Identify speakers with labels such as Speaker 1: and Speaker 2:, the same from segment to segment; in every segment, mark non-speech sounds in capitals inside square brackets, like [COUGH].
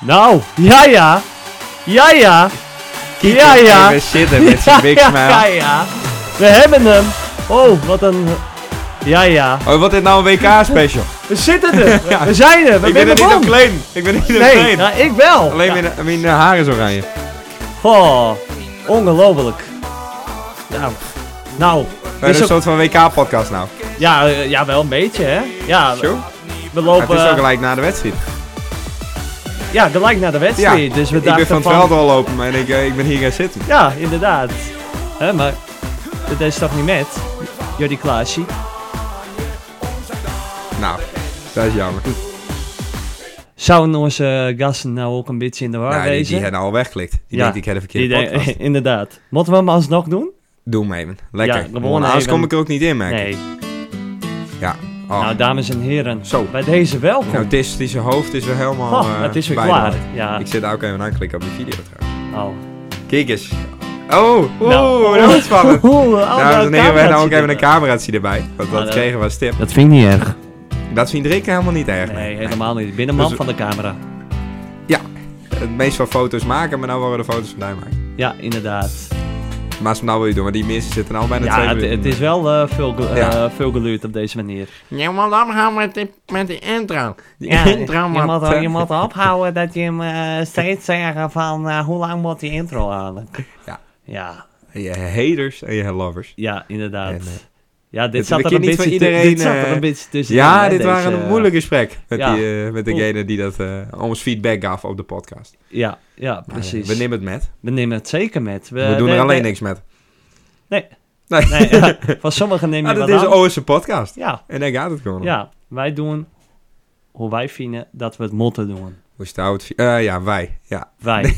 Speaker 1: Nou, ja ja. Ja ja. Ja [LAUGHS] ja.
Speaker 2: We zitten met zijn big
Speaker 1: ja,
Speaker 2: smile.
Speaker 1: ja, ja. We hebben hem. Oh, wat een... Ja ja.
Speaker 2: Oh, wat dit nou een WK special?
Speaker 1: We zitten
Speaker 2: [LAUGHS]
Speaker 1: er.
Speaker 2: Ja.
Speaker 1: We zijn er. We
Speaker 2: ik ben
Speaker 1: binnen
Speaker 2: er niet
Speaker 1: man.
Speaker 2: op klein. Ik ben er niet op
Speaker 1: Nee,
Speaker 2: klein.
Speaker 1: nou, ik wel.
Speaker 2: Alleen
Speaker 1: Ja.
Speaker 2: mijn, mijn eh, haar is oranje.
Speaker 1: Oh, ongelooflijk. Nou, nou.
Speaker 2: We
Speaker 1: is
Speaker 2: hebben Eh, een
Speaker 1: ook-
Speaker 2: soort van WK-podcast nou.
Speaker 1: Ja, eh, ja, wel een beetje, hè? Ja, we,
Speaker 2: Zo?
Speaker 1: we
Speaker 2: Maar Het
Speaker 1: lopen
Speaker 2: is ook
Speaker 1: eh,
Speaker 2: gelijk na de wedstrijd.
Speaker 1: ja, gelijk naar de
Speaker 2: Ja,
Speaker 1: wedstrijd. dus we
Speaker 2: ik ben
Speaker 1: dachten
Speaker 2: van het veld al lopen, maar ik, eh, ik ben hier gaan zitten.
Speaker 1: Ja, inderdaad. Hè, maar dat is toch niet met? Jordi Klaasje.
Speaker 2: Nou, dat is jammer.
Speaker 1: Zouden onze gasten nou ook een beetje in de war
Speaker 2: Nou, die, die
Speaker 1: wezen?
Speaker 2: hebben al weggeklikt. Die
Speaker 1: Ja,
Speaker 2: denkt ik heb de verkeerde
Speaker 1: Die de-
Speaker 2: podcast.
Speaker 1: [LAUGHS] inderdaad. Moeten we hem alsnog doen?
Speaker 2: Doe hem even. Lekker.
Speaker 1: Ja, gewoon
Speaker 2: Want anders
Speaker 1: even.
Speaker 2: kom ik er ook niet in, merk ik.
Speaker 1: Nee.
Speaker 2: Ja. Oh.
Speaker 1: Nou, dames en heren.
Speaker 2: Zo.
Speaker 1: Bij deze welkom.
Speaker 2: Nou, autistische hoofd is weer helemaal
Speaker 1: Oh,
Speaker 2: eh,
Speaker 1: het is weer
Speaker 2: bij de hand.
Speaker 1: klaar. Ja.
Speaker 2: Ik zit daar ook even aan klikken op die video trouwens.
Speaker 1: Oh.
Speaker 2: Kijk eens. Oh, oeh, dat is spannend. Dames en
Speaker 1: Nou, Ah,
Speaker 2: heren, we hebben ook even een cameraatje erbij. Want dat
Speaker 1: dat-
Speaker 2: kregen we als tip.
Speaker 1: Dat vind ik niet erg.
Speaker 2: Dat vindt Rick helemaal niet erg.
Speaker 1: Nee, helemaal niet. Ik ben een man
Speaker 2: Dus-
Speaker 1: van de camera.
Speaker 2: Ja, het meest van foto's maken, maar nou worden de foto's vandaan maken.
Speaker 1: Ja, inderdaad.
Speaker 2: Maar als we nou wil je doen, maar die mensen zitten al bijna twee
Speaker 1: Ja, het,
Speaker 2: minuten.
Speaker 1: het is wel eh, veel, ge- eh,
Speaker 2: Ja.
Speaker 1: veel geluid op deze manier.
Speaker 3: Je moet ophouden met die, met die intro.
Speaker 1: [LAUGHS]
Speaker 3: Die
Speaker 2: [LAUGHS]
Speaker 3: intro
Speaker 1: je,
Speaker 3: moet...
Speaker 1: moet, je moet ophouden dat je hem eh, steeds zeggen van eh, hoe lang moet die intro halen.
Speaker 2: Ja.
Speaker 1: Ja,
Speaker 2: Je haters en je lovers.
Speaker 1: ja inderdaad.
Speaker 2: En, eh,
Speaker 1: ja, dit
Speaker 2: het-
Speaker 1: zat
Speaker 2: we
Speaker 1: er een
Speaker 2: kunnen
Speaker 1: beetje
Speaker 2: niet voor
Speaker 1: tu-
Speaker 2: iedereen,
Speaker 1: dit zat er
Speaker 2: eh,
Speaker 1: een beetje tussen.
Speaker 2: Ja, dit waren een moeilijk gesprek met,
Speaker 1: Ja.
Speaker 2: die, eh, met degene die dat, eh, ons feedback gaf op de podcast.
Speaker 1: Ja, ja,
Speaker 2: Maar, eh,
Speaker 1: precies.
Speaker 2: we nemen het met.
Speaker 1: We nemen het zeker met.
Speaker 2: We doen er
Speaker 1: we-
Speaker 2: alleen
Speaker 1: we-
Speaker 2: niks met.
Speaker 1: Nee.
Speaker 2: [LAUGHS] Nee.
Speaker 1: Nee, ja, van sommigen neem je
Speaker 2: Ah,
Speaker 1: wat
Speaker 2: dat is
Speaker 1: aan.
Speaker 2: een OS'e podcast.
Speaker 1: Ja,
Speaker 2: En daar gaat het gewoon om.
Speaker 1: ja, wij doen hoe wij vinden dat we het moeten doen.
Speaker 2: Hoe is het oud? Eh, ja, wij. Ja.
Speaker 1: Wij.
Speaker 2: [LAUGHS]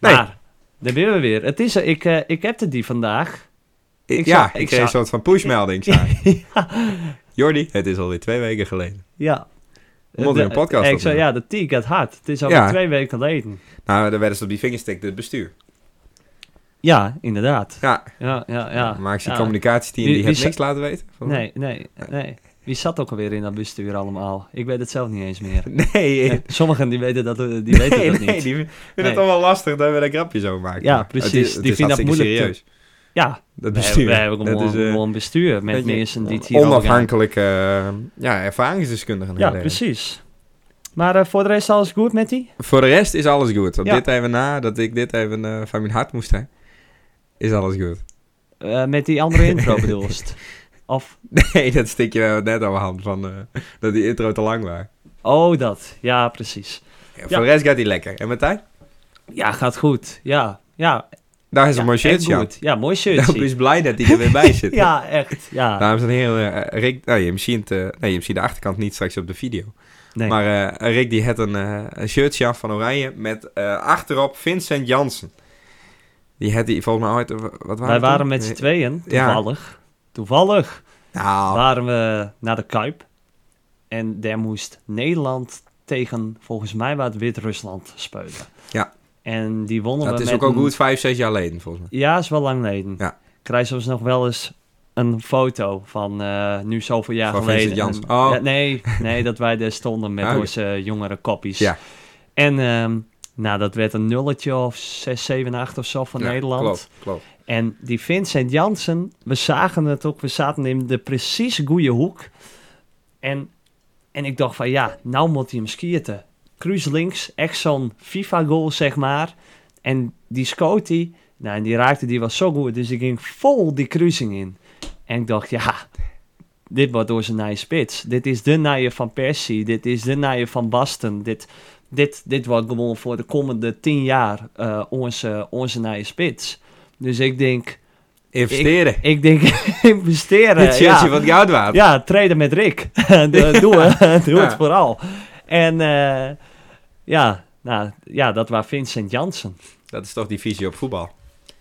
Speaker 2: Nee.
Speaker 1: [LAUGHS] Maar, daar ben we weer. Het is, er. ik, eh, ik heb die vandaag.
Speaker 2: Ik,
Speaker 1: Ik
Speaker 2: ja,
Speaker 1: zou-
Speaker 2: ik
Speaker 1: ik
Speaker 2: kreeg een
Speaker 1: zou-
Speaker 2: soort van
Speaker 1: [LAUGHS]
Speaker 2: pushmelding. zei. Jordi, het is alweer twee weken geleden.
Speaker 1: Ja.
Speaker 2: We moeten
Speaker 1: De-
Speaker 2: een
Speaker 1: ik
Speaker 2: podcast
Speaker 1: zei,
Speaker 2: opnemen.
Speaker 1: Ja, de tee gaat hard. Het is al
Speaker 2: Ja.
Speaker 1: twee weken geleden.
Speaker 2: Nou, dan werden ze op die vingerstick het bestuur.
Speaker 1: Ja, inderdaad.
Speaker 2: Ja,
Speaker 1: Ja, ja, ja.
Speaker 2: ja maar ik zie
Speaker 1: ja.
Speaker 2: communicatieteam, die,
Speaker 1: Wie- wie
Speaker 2: heeft
Speaker 1: zou-
Speaker 2: niks laten weten.
Speaker 1: Nee, nee, nee. Wie zat ook alweer in dat bestuur allemaal? Ik weet het zelf niet eens meer.
Speaker 2: [LAUGHS] Nee,
Speaker 1: Ja,
Speaker 2: nee,
Speaker 1: sommigen die weten dat, eh, die
Speaker 2: [LAUGHS]
Speaker 1: weten
Speaker 2: nee,
Speaker 1: dat niet.
Speaker 2: die vinden
Speaker 1: Nee.
Speaker 2: het allemaal lastig dat we daar grapjes over maken.
Speaker 1: Ja,
Speaker 2: Maar
Speaker 1: precies.
Speaker 2: Het is, het
Speaker 1: Die
Speaker 2: is
Speaker 1: vinden dat
Speaker 2: hartstikke
Speaker 1: moeilijk te-
Speaker 2: serieus.
Speaker 1: Ja,
Speaker 2: Dat
Speaker 1: we
Speaker 2: bestuur.
Speaker 1: hebben, we hebben
Speaker 2: dat
Speaker 1: gewoon,
Speaker 2: eh,
Speaker 1: gewoon een bestuur met
Speaker 2: weet je, eh,
Speaker 1: mensen die het hier
Speaker 2: onafhankelijke eh, ja, ervaringsdeskundigen.
Speaker 1: Ja,
Speaker 2: Eh,
Speaker 1: precies. Maar eh, voor de rest alles goed met die?
Speaker 2: Voor de rest is alles goed. Op
Speaker 1: Ja.
Speaker 2: dit even na, dat ik dit even eh, van mijn hart moest hebben, is alles goed.
Speaker 1: Eh, met die andere
Speaker 2: [LAUGHS]
Speaker 1: intro bedoelst? Of,
Speaker 2: Nee, dat stikje waar we het net over hadden, van, eh, dat die intro te lang was.
Speaker 1: oh dat, ja precies.
Speaker 2: Voor de rest gaat hij lekker. En Martijn?
Speaker 1: Ja, gaat goed, ja. Ja,
Speaker 2: Daar is
Speaker 1: ja,
Speaker 2: een mooi
Speaker 1: echt
Speaker 2: shirtje aan.
Speaker 1: goed. Ja,
Speaker 2: [LAUGHS]
Speaker 1: mooi
Speaker 2: Ik
Speaker 1: shirtje.
Speaker 2: ben blij dat hij er weer bij
Speaker 1: [LAUGHS]
Speaker 2: zit.
Speaker 1: Ja, echt, ja.
Speaker 2: Dames en heren, eh, Rick, nou, je, ziet, eh nee, je ziet de achterkant niet straks op de video.
Speaker 1: Nee.
Speaker 2: Maar eh, Rick die had een, eh, een shirtje aan van Oranje met eh, achterop Vincent Jansen. Die had die volgens mij ooit... eh, Wat waren
Speaker 1: Wij
Speaker 2: het
Speaker 1: waren
Speaker 2: toen?
Speaker 1: met z'n tweeën,
Speaker 2: Ja.
Speaker 1: toevallig. Toevallig
Speaker 2: Nou,
Speaker 1: waren we naar de Kuip. En daar moest Nederland tegen, volgens mij, wat Wit-Rusland spelen.
Speaker 2: Ja.
Speaker 1: En die wonnen
Speaker 2: dat
Speaker 1: we
Speaker 2: is
Speaker 1: met
Speaker 2: ook al
Speaker 1: een-
Speaker 2: goed vijf, zes jaar geleden volgens mij.
Speaker 1: Ja, is wel lang geleden.
Speaker 2: Ja.
Speaker 1: Ik krijg soms nog wel eens een foto van eh, nu zoveel jaar
Speaker 2: Van
Speaker 1: geleden.
Speaker 2: Vincent Janssen.
Speaker 1: En-
Speaker 2: Oh.
Speaker 1: Ja, nee, nee, dat wij daar stonden met
Speaker 2: [LAUGHS] Oh, ja.
Speaker 1: onze jongere koppies.
Speaker 2: Ja.
Speaker 1: En ehm, nou, dat werd een nulletje of 6, 7, 8 of zo van
Speaker 2: Ja,
Speaker 1: Nederland.
Speaker 2: Klopt, klopt.
Speaker 1: En die Vincent Jansen, we zagen het ook, we zaten in de precies goede hoek. En, en ik dacht van ja, nou moet hij hem skierten. Cruis links, echt zo'n FIFA-goal zeg maar. En die scoot hij, nou en die raakte die was zo goed, dus die ging vol die cruising in. En ik dacht ja, dit wordt door zijn naaie spits. Dit is de naaie van Persie, dit is de naaie van Basten, dit... Dit, dit wordt gewoon voor de komende tien jaar eh, onze, onze naaie spits. Dus ik denk,
Speaker 2: Investeren.
Speaker 1: ik denk [LAUGHS] investeren.
Speaker 2: Dit shirtje
Speaker 1: ja.
Speaker 2: wat goud waard.
Speaker 1: ja, traden met Rick. [LAUGHS] Doe- Doe,
Speaker 2: [LAUGHS]
Speaker 1: het- [LAUGHS] doe het
Speaker 2: Ja.
Speaker 1: vooral. En eh, ja, nou, ja, dat was Vincent Jansen.
Speaker 2: Dat is toch die visie op voetbal.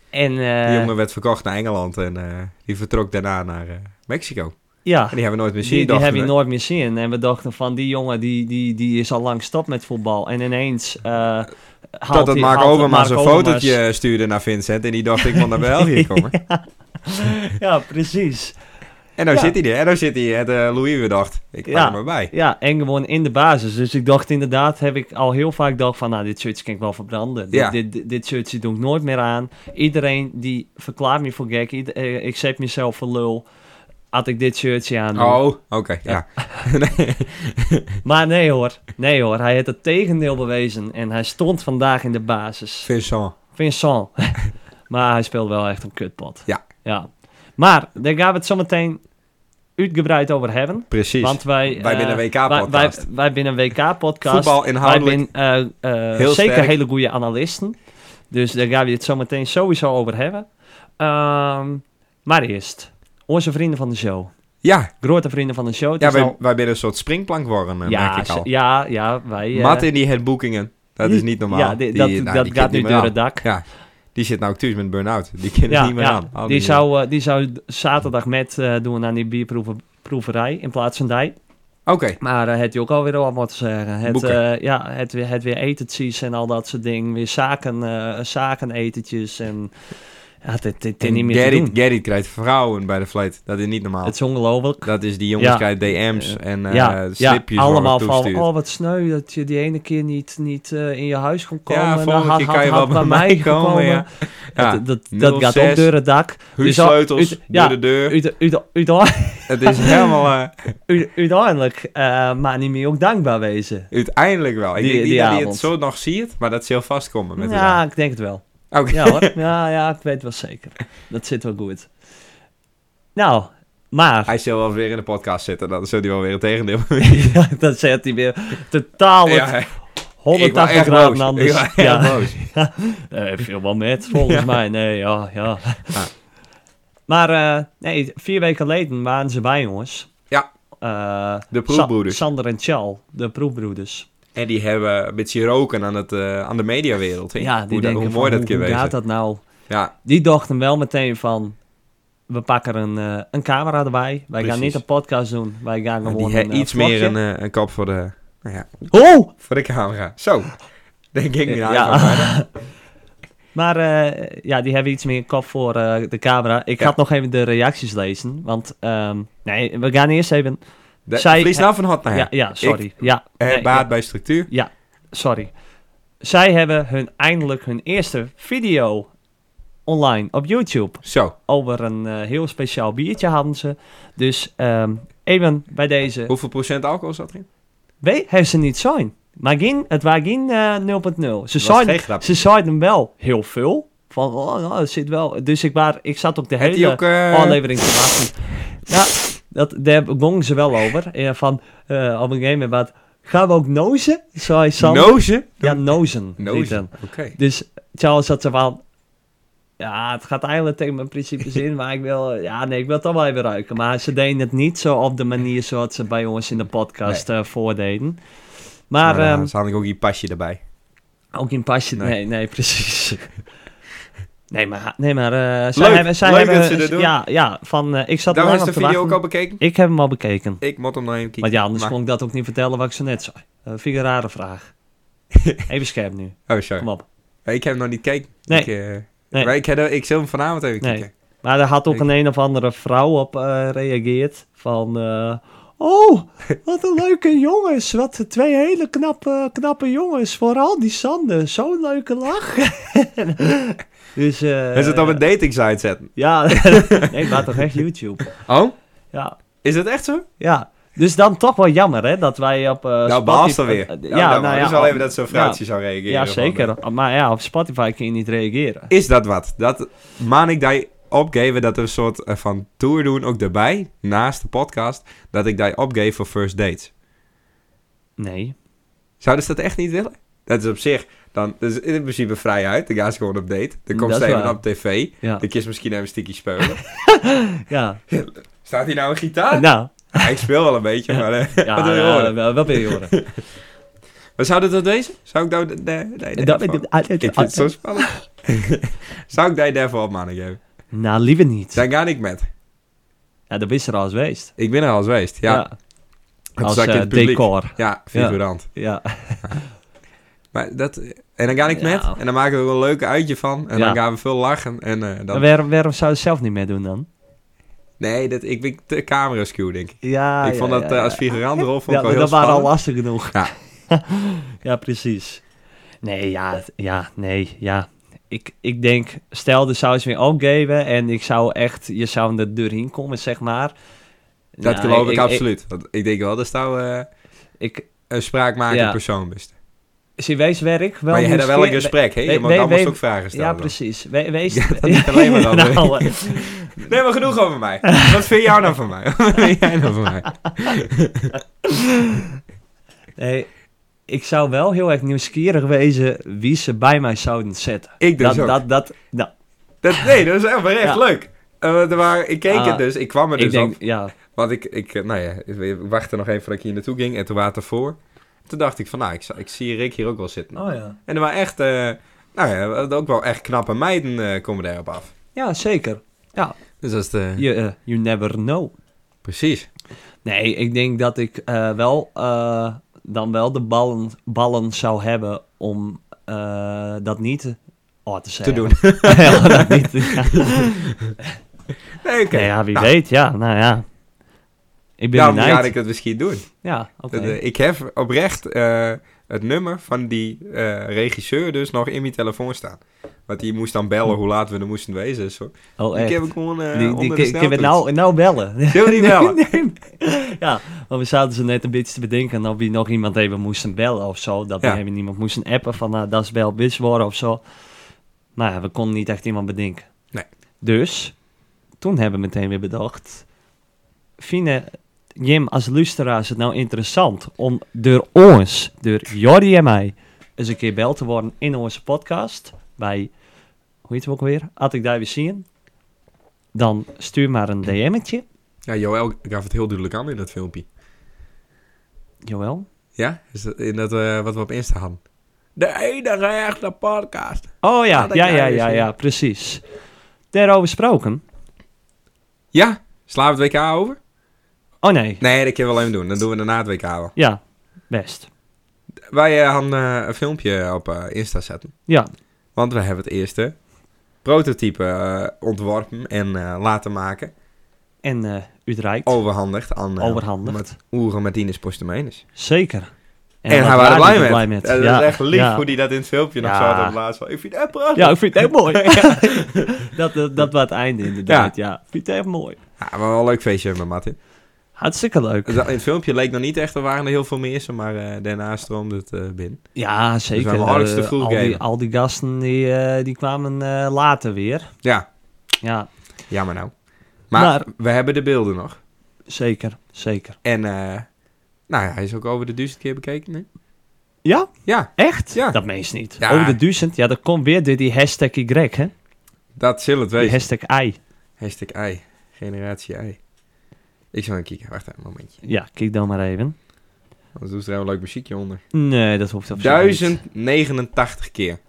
Speaker 1: En
Speaker 2: Die
Speaker 1: eh,
Speaker 2: jongen werd verkocht naar Engeland en eh, die vertrok daarna naar eh, Mexico.
Speaker 1: ja,
Speaker 2: En die hebben we nooit meer zien.
Speaker 1: die, die
Speaker 2: dachten
Speaker 1: heb je
Speaker 2: we.
Speaker 1: nooit meer zien. En we dachten van, die jongen die, die, die is al lang stop met voetbal. En ineens eh haalt
Speaker 2: Totdat
Speaker 1: hij-
Speaker 2: Mark
Speaker 1: haalt
Speaker 2: Overmars een
Speaker 1: Mark Overmars-
Speaker 2: fotootje eh,
Speaker 1: [LAUGHS]
Speaker 2: stuurde naar Vincent. En die dacht, ik moet naar België komen.
Speaker 1: Ja, precies.
Speaker 2: En nou
Speaker 1: Ja.
Speaker 2: zit hij er. En nou zit hij. Het eh, Louis weer dacht, ik pak
Speaker 1: Ja.
Speaker 2: hem erbij.
Speaker 1: Ja, en gewoon in de basis. Dus ik dacht inderdaad, heb ik al heel vaak gedacht van, nou, dit shirtje kan ik wel verbranden.
Speaker 2: Ja.
Speaker 1: Dit, dit, dit shirtje doe ik nooit meer aan. Iedereen die verklaart me voor gek, ieder- eh, ik zet mezelf voor lul, had ik dit shirtje aan.
Speaker 2: Oh, oké, ja. Nee.
Speaker 1: Maar nee hoor, nee hoor, hij heeft het tegendeel bewezen en hij stond vandaag in de basis.
Speaker 2: Vincent.
Speaker 1: Vincent. [LAUGHS] maar hij speelde wel echt een kutpot.
Speaker 2: Ja.
Speaker 1: ja. Maar daar gaan we het zometeen uitgebreid over hebben.
Speaker 2: Precies.
Speaker 1: Want wij,
Speaker 2: Wij
Speaker 1: eh,
Speaker 2: binnen WK-podcast.
Speaker 1: Wij, wij, wij binnen WK-podcast.
Speaker 2: Voetbal inhoudelijk
Speaker 1: Wij zijn eh, eh,
Speaker 2: heel
Speaker 1: zeker
Speaker 2: sterk.
Speaker 1: hele goede analisten. Dus daar gaan we het zo meteen sowieso over hebben. Ehm, maar eerst, onze vrienden van de show.
Speaker 2: Ja,
Speaker 1: Grote vrienden van de show. Het
Speaker 2: ja
Speaker 1: is
Speaker 2: wij,
Speaker 1: nou-
Speaker 2: wij binnen een soort springplank worden, eh,
Speaker 1: ja,
Speaker 2: merk ik
Speaker 1: ze-
Speaker 2: al.
Speaker 1: ja, ja, wij... eh,
Speaker 2: Martin die het boekingen. Dat is niet normaal.
Speaker 1: Ja, die-
Speaker 2: Die-
Speaker 1: dat,
Speaker 2: nou,
Speaker 1: dat
Speaker 2: die
Speaker 1: gaat
Speaker 2: kent
Speaker 1: nu
Speaker 2: niet meer
Speaker 1: door
Speaker 2: aan.
Speaker 1: het dak.
Speaker 2: Ja, die zit nou thuis met een burn-out. Die kan het niet meer aan. Oh, Al
Speaker 1: Die,
Speaker 2: niet
Speaker 1: zou, eh, die zou zaterdag met eh, doen aan die bierproeverij in plaats van die.
Speaker 2: meer. Oké,
Speaker 1: Maar eh het je ook alweer wat moeten zeggen. Het,
Speaker 2: Boeken.
Speaker 1: eh, ja, het, weer- het weer etentjes en al dat soort dingen. Weer zaken, eh zakenetentjes en... Ja, dit, dit, dit
Speaker 2: En
Speaker 1: niet meer te
Speaker 2: Gerrit,
Speaker 1: doen.
Speaker 2: Gerrit krijgt vrouwen bij de flight. Dat is niet normaal.
Speaker 1: Het is ongelooflijk.
Speaker 2: Dat is die jongens
Speaker 1: Ja.
Speaker 2: krijgen DM's en eh
Speaker 1: ja, ja,
Speaker 2: slipjes
Speaker 1: allemaal
Speaker 2: worden
Speaker 1: van,
Speaker 2: toegestuurd.
Speaker 1: oh wat sneu dat je die ene keer niet, niet eh, in je huis kon komen.
Speaker 2: ja,
Speaker 1: Dan
Speaker 2: volgende
Speaker 1: had-
Speaker 2: keer
Speaker 1: eh, nou, had-
Speaker 2: kan je wel
Speaker 1: had
Speaker 2: bij mij komen. Ja. Ja,
Speaker 1: Dat, dat, dat gaat
Speaker 2: 06.
Speaker 1: ook door het dak. Dus al-
Speaker 2: Huursleutels,
Speaker 1: uit- ja,
Speaker 2: door de deur.
Speaker 1: uit- uit- uit-
Speaker 2: Het
Speaker 1: [LAUGHS]
Speaker 2: is helemaal... eh,
Speaker 1: uit- Uiteindelijk, eh, maar niet meer ook dankbaar wezen.
Speaker 2: uiteindelijk wel. Ik
Speaker 1: Die-
Speaker 2: denk niet
Speaker 1: die
Speaker 2: dat je het
Speaker 1: avond.
Speaker 2: zo nog ziet, maar dat zal vast komen met
Speaker 1: Ja, ik denk het wel.
Speaker 2: elkaar. Oké.
Speaker 1: Ja hoor, [LAUGHS] ja, ja, ik weet wel zeker. Dat zit wel goed. Nou, maar...
Speaker 2: Hij zal wel weer in de podcast zitten. Dan zal hij wel weer het tegendeel
Speaker 1: [LAUGHS] Ja, dan zet hij weer totaal het
Speaker 2: ja, ik was
Speaker 1: 180
Speaker 2: echt
Speaker 1: graden
Speaker 2: boos.
Speaker 1: anders.
Speaker 2: Ik was
Speaker 1: Ja.
Speaker 2: echt boos.
Speaker 1: Eh, veel wel met, volgens mij. Nee, ja, ja.
Speaker 2: Ja.
Speaker 1: Maar eh, nee, vier weken geleden waren ze bij ons.
Speaker 2: Ja.
Speaker 1: Eh,
Speaker 2: De proefbroeders.
Speaker 1: Sa- Sander en Chal, de proefbroeders.
Speaker 2: En die hebben een beetje roken aan, het, eh, aan de mediawereld. hè?
Speaker 1: Ja, die
Speaker 2: hoe, dat-
Speaker 1: denken
Speaker 2: hoe
Speaker 1: van,
Speaker 2: mooi dat kan
Speaker 1: hoe
Speaker 2: wezen.
Speaker 1: gaat dat nou?
Speaker 2: Ja,
Speaker 1: Die dachten wel meteen van, we pakken een, eh, een camera erbij. Wij gaan
Speaker 2: Precies.
Speaker 1: niet een podcast doen, wij gaan
Speaker 2: en
Speaker 1: gewoon
Speaker 2: die
Speaker 1: een,
Speaker 2: hebben
Speaker 1: eh,
Speaker 2: iets meer een,
Speaker 1: vlogje.
Speaker 2: eh, een kop voor de, nou ja,
Speaker 1: Oh!
Speaker 2: voor de camera. Zo, denk ik nou nu
Speaker 1: Eh, Ja.
Speaker 2: eigenlijk wel
Speaker 1: [LAUGHS]
Speaker 2: bijna.
Speaker 1: Maar eh, ja, die hebben iets meer kop voor eh, de camera. Ik
Speaker 2: Ja.
Speaker 1: ga nog even de reacties lezen, want ehm, nee, we gaan eerst even...
Speaker 2: De,
Speaker 1: Zij-
Speaker 2: verlies nou van hot naar
Speaker 1: ja,
Speaker 2: ja, Eh,
Speaker 1: ja, sorry. ja, nee,
Speaker 2: baat
Speaker 1: ja,
Speaker 2: bij structuur.
Speaker 1: sorry. Zij hebben hun, eindelijk hun eerste video online op YouTube.
Speaker 2: Zo,
Speaker 1: Over een eh, heel speciaal biertje hadden ze. Dus ehm, even bij deze...
Speaker 2: hoeveel procent alcohol zat erin?
Speaker 1: Weet, heeft ze niet zijn. Maar geen, het was geen eh, 0.0. Ze
Speaker 2: Het was geen
Speaker 1: zeiden
Speaker 2: grap.
Speaker 1: ze zeiden hem wel heel veel. Van, oh, nou, het zit wel. Dus ik, waar, ik zat ook de
Speaker 2: Had hij
Speaker 1: hele
Speaker 2: ook... eh,
Speaker 1: aflevering te wachten. Ja, dat, daar gong ze wel over.
Speaker 2: [LAUGHS]
Speaker 1: Eh, van, eh, op een gegeven moment, wat, gaan we ook nozen? Zei Sander.
Speaker 2: Nozen?
Speaker 1: Ja, nozen.
Speaker 2: Nozen.
Speaker 1: liet hem.
Speaker 2: Oké.
Speaker 1: Dus Charles had ze van... Ja, het gaat eigenlijk tegen mijn
Speaker 2: [LAUGHS]
Speaker 1: principes in, maar ik wil... Ja, nee, ik wil het toch wel even ruiken. Maar ze deden het niet zo op de manier zoals ze bij ons in de podcast eh, voordeden. Maar
Speaker 2: Maar
Speaker 1: ehm,
Speaker 2: Nou, dan had ik ook die pasje erbij.
Speaker 1: ook in pasje... Nee,
Speaker 2: Nee.
Speaker 1: nee,
Speaker 2: [LAUGHS]
Speaker 1: precies. Nee, maar... Nee, maar eh, zij
Speaker 2: Leuk.
Speaker 1: hebben, zij
Speaker 2: Leuk
Speaker 1: hebben,
Speaker 2: dat ze dat doen.
Speaker 1: Ja, ja van, eh, ik zat
Speaker 2: Daar
Speaker 1: er lang
Speaker 2: was de
Speaker 1: op te
Speaker 2: video ook
Speaker 1: wachten.
Speaker 2: al bekeken.
Speaker 1: Ik heb hem al bekeken.
Speaker 2: Ik moet hem nog even
Speaker 1: Want
Speaker 2: kijken.
Speaker 1: ja, anders
Speaker 2: Maar-
Speaker 1: kon ik dat ook niet vertellen wat ik zo net zei. Eh, vind ik een rare
Speaker 2: [LAUGHS]
Speaker 1: vraag. Even scherp nu.
Speaker 2: Oh, sorry.
Speaker 1: Kom op.
Speaker 2: Ik heb hem nog niet gekeken.
Speaker 1: Nee.
Speaker 2: Ik, eh,
Speaker 1: Nee.
Speaker 2: Maar ik, heb, ik zal hem vanavond even
Speaker 1: Nee.
Speaker 2: kijken.
Speaker 1: Maar daar had ook een een of andere vrouw op eh reageerd. Van, eh, oh, wat een leuke [LAUGHS] jongens. Wat twee hele knappe, knappe jongens. Vooral die Sander. Zo'n leuke lach. [LAUGHS] dus, eh,
Speaker 2: is het op een dating site zetten?
Speaker 1: Ja, [LAUGHS] nee, maar toch echt YouTube.
Speaker 2: Oh?
Speaker 1: Ja,
Speaker 2: Is dat echt zo?
Speaker 1: ja. Dus dan toch wel jammer, hè, dat wij op eh
Speaker 2: nou,
Speaker 1: Spotify-
Speaker 2: baas dan weer.
Speaker 1: eh,
Speaker 2: ja, nou, dus wel
Speaker 1: op-
Speaker 2: even dat zo'n vrouwtje zou reageren.
Speaker 1: Ja,
Speaker 2: van,
Speaker 1: zeker.
Speaker 2: eh,
Speaker 1: Maar ja, op Spotify kun je niet reageren.
Speaker 2: Is dat wat? Dat maan ik daar opgeven dat we een soort eh, van tour doen, ook daarbij, naast de podcast, dat ik daar opgeef voor first dates.
Speaker 1: Nee.
Speaker 2: Zouden ze dat echt niet willen? Dat is op zich, dan dat is in principe vrijheid. Dan gaan ze gewoon op date. Dan komt
Speaker 1: Dat is
Speaker 2: Steven
Speaker 1: waar.
Speaker 2: op tv. [LAUGHS]
Speaker 1: Ja.
Speaker 2: Dan kies misschien even een stukje
Speaker 1: [LAUGHS]
Speaker 2: spelen.
Speaker 1: Ja.
Speaker 2: Staat hier nou een gitaar?
Speaker 1: Nou,
Speaker 2: Ja, ik speel wel een beetje, maar... eh,
Speaker 1: ja,
Speaker 2: [LAUGHS] wat wil je
Speaker 1: ja,
Speaker 2: horen?
Speaker 1: wel- wel wil je
Speaker 2: [LAUGHS]
Speaker 1: horen.
Speaker 2: Maar zou dat dat wezen? Zou ik nou... Nee, nee, nee,
Speaker 1: Dat- Ah,
Speaker 2: van- Ik vind het zo spannend. [LAUGHS] Zou ik daar daarvoor op mannen geven?
Speaker 1: Nou, liever niet.
Speaker 2: Daar ga ik met.
Speaker 1: Ja, dat is er al eens geweest.
Speaker 2: Ik ben er al eens geweest. Ja, Het
Speaker 1: Als
Speaker 2: zat in
Speaker 1: eh,
Speaker 2: het publiek.
Speaker 1: decor.
Speaker 2: Ja, figurant.
Speaker 1: Ja.
Speaker 2: Maar dat, en dan ga ik
Speaker 1: Ja.
Speaker 2: met en dan maken we er een leuk uitje van. En
Speaker 1: Ja.
Speaker 2: dan gaan we veel lachen. En, eh, dan,
Speaker 1: Maar waarom, waarom zou je het zelf niet meer doen dan?
Speaker 2: Nee, dat, ik ben de camera skew, denk ik.
Speaker 1: Ja,
Speaker 2: ik
Speaker 1: Ah, ja,
Speaker 2: vond dat
Speaker 1: ja,
Speaker 2: eh, als
Speaker 1: ja.
Speaker 2: figurantrol vond
Speaker 1: Ja,
Speaker 2: ik wel
Speaker 1: maar
Speaker 2: heel
Speaker 1: dat waren al
Speaker 2: spannend.
Speaker 1: lastig genoeg.
Speaker 2: Ja.
Speaker 1: [LAUGHS] ja, precies. Nee, ja, het- ja, nee, ja. Ik, ik denk, stel, er zou eens weer opgeven en ik zou echt, je zou er doorheen komen, zeg maar.
Speaker 2: Dat
Speaker 1: Nou,
Speaker 2: geloof ik, absoluut. Want ik denk wel dat zou eh
Speaker 1: Ik,
Speaker 2: een spraakmakend
Speaker 1: Ja.
Speaker 2: persoon best.
Speaker 1: zie, wees werk. Wel
Speaker 2: maar je hebt daar wel een
Speaker 1: nieuwsgier-
Speaker 2: gesprek, hè?
Speaker 1: we-
Speaker 2: Je
Speaker 1: we-
Speaker 2: mag dan
Speaker 1: we-
Speaker 2: moest ook vragen stellen.
Speaker 1: Ja,
Speaker 2: dan. [LAUGHS]
Speaker 1: precies. We- wees...
Speaker 2: Ja, dat niet
Speaker 1: [LAUGHS]
Speaker 2: alleen maar dan.
Speaker 1: Nou, eh,
Speaker 2: Nee, maar genoeg over mij. [LAUGHS] Wat vind jij nou van mij? [LAUGHS] Wat vind jij nou van mij?
Speaker 1: nee, ik zou wel heel erg nieuwsgierig wezen wie ze bij mij zouden zetten.
Speaker 2: Ik dus
Speaker 1: dat,
Speaker 2: ook.
Speaker 1: dat, dat, nou,
Speaker 2: Dat, nee, dat is echt, maar echt
Speaker 1: Ja.
Speaker 2: leuk. Eh, want er waren- ik keek
Speaker 1: Ah,
Speaker 2: het dus, ik kwam er
Speaker 1: ik
Speaker 2: dus
Speaker 1: denk,
Speaker 2: op.
Speaker 1: ja,
Speaker 2: Want ik, ik, eh, nou ja, ik wachtte nog even voordat ik hier naartoe ging en toen waren het ervoor. Toen dacht ik van, nou, ik, zou- ik zie Rick hier ook wel zitten.
Speaker 1: oh ja.
Speaker 2: En er waren echt, eh, nou ja, ook wel echt knappe meiden eh, komen daarop af.
Speaker 1: Ja, zeker.
Speaker 2: Dus dat is de...
Speaker 1: You, eh, you never know.
Speaker 2: Precies.
Speaker 1: Nee, ik denk dat ik eh, wel eh, dan wel de ballen, ballen zou hebben om eh, dat niet te- oh, te zeggen. [LAUGHS]
Speaker 2: doen.
Speaker 1: Ja, dat
Speaker 2: [LAUGHS]
Speaker 1: niet. Ja.
Speaker 2: Nee, oké.
Speaker 1: Nee, ja, wie
Speaker 2: Nou,
Speaker 1: weet. Ja, nou ja. Ik ben
Speaker 2: Daarom
Speaker 1: benieuwd.
Speaker 2: ga ik dat misschien doen.
Speaker 1: Ja, oké.
Speaker 2: Dat, eh, ik heb oprecht eh, het nummer van die eh, regisseur dus nog in mijn telefoon staan. Want die moest dan bellen hoe laat we er moesten wezen. en Zo.
Speaker 1: Oh,
Speaker 2: Die
Speaker 1: echt.
Speaker 2: heb ik gewoon eh,
Speaker 1: Die, die, die,
Speaker 2: onder de
Speaker 1: ik heb het
Speaker 2: sneltoets.
Speaker 1: nou, nou bellen.
Speaker 2: Zullen we
Speaker 1: [LAUGHS]
Speaker 2: die [LAUGHS] bellen?
Speaker 1: Nee. Ja, want we zaten ze net een beetje te bedenken of we nog iemand even moesten bellen of zo. Dat
Speaker 2: Ja.
Speaker 1: we even iemand moesten appen van nou, dat is wel bitch worden of zo. Maar ja, we konden niet echt iemand bedenken.
Speaker 2: Nee.
Speaker 1: Dus, toen hebben we meteen weer bedacht. Vinden Jim als luisteraars het nou interessant om door ons, door Jordi en mij, eens een keer bel te worden in onze podcast. Bij, hoe heet het ook weer? Had ik daar weer zien. Dan stuur maar een DM'tje.
Speaker 2: Ja, Joël gaf het heel duidelijk aan in dat filmpje.
Speaker 1: Jawel.
Speaker 2: Ja? Is dat, in dat eh, wat we op Insta hadden. De enige echte podcast.
Speaker 1: Oh ja,
Speaker 2: Ja, dat
Speaker 1: ja,
Speaker 2: kan
Speaker 1: ja,
Speaker 2: je
Speaker 1: ja,
Speaker 2: zien.
Speaker 1: ja, precies. Daarover gesproken.
Speaker 2: Ja? Slaan we het WK over?
Speaker 1: Oh nee,
Speaker 2: Nee, dat kunnen we wel even doen. Dan doen we daarna het WK wel.
Speaker 1: ja, best.
Speaker 2: Wij eh, hadden eh, een filmpje op eh, Insta zetten.
Speaker 1: Ja,
Speaker 2: Want we hebben het eerste prototype eh, ontworpen en eh, laten maken.
Speaker 1: en eh Utrecht.
Speaker 2: Overhandigd aan eh,
Speaker 1: Overhandigd.
Speaker 2: Mat- Oere Martinez Postemenes.
Speaker 1: Zeker.
Speaker 2: En, hij was er
Speaker 1: waren
Speaker 2: blij
Speaker 1: we
Speaker 2: mee. Eh, dat
Speaker 1: Ja,
Speaker 2: is echt lief
Speaker 1: ja.
Speaker 2: hoe hij dat in het filmpje nog
Speaker 1: Ja.
Speaker 2: zo had op het laatst. van, Ik vind het echt prachtig.
Speaker 1: Ja, ik
Speaker 2: [LAUGHS]
Speaker 1: vind het echt mooi. [LAUGHS] dat, dat, dat was het einde inderdaad, ja. Ik vind het echt mooi.
Speaker 2: Ja, maar wel een leuk feestje met Martin.
Speaker 1: Hartstikke leuk.
Speaker 2: In het filmpje leek nog niet echt, er waren er heel veel meer, maar eh, daarna stroomde het eh, binnen.
Speaker 1: Ja, zeker.
Speaker 2: wel aardig te
Speaker 1: Eh,
Speaker 2: vroeg
Speaker 1: al, die,
Speaker 2: gamen.
Speaker 1: al die gasten die, eh, die kwamen eh, later weer.
Speaker 2: Ja,
Speaker 1: Ja,
Speaker 2: jammer nou. Maar,
Speaker 1: Maar-
Speaker 2: we hebben de beelden nog.
Speaker 1: zeker, zeker.
Speaker 2: En eh, nou ja, hij is ook over de duizend keer bekeken nu.
Speaker 1: Ja,
Speaker 2: Ja,
Speaker 1: echt?
Speaker 2: Ja.
Speaker 1: Dat meest niet.
Speaker 2: Ja.
Speaker 1: Over de duizend, ja, dat komt weer door die hashtag Y, hè?
Speaker 2: dat zal het
Speaker 1: Die
Speaker 2: wezen.
Speaker 1: hashtag I.
Speaker 2: Hashtag ei. Generatie ei. Ik zal een kijken. Wacht even een momentje.
Speaker 1: Ja, kijk dan maar even.
Speaker 2: Anders doen ze er wel een leuk muziekje onder.
Speaker 1: Nee, dat hoeft op zich niet.
Speaker 2: 1089 keer.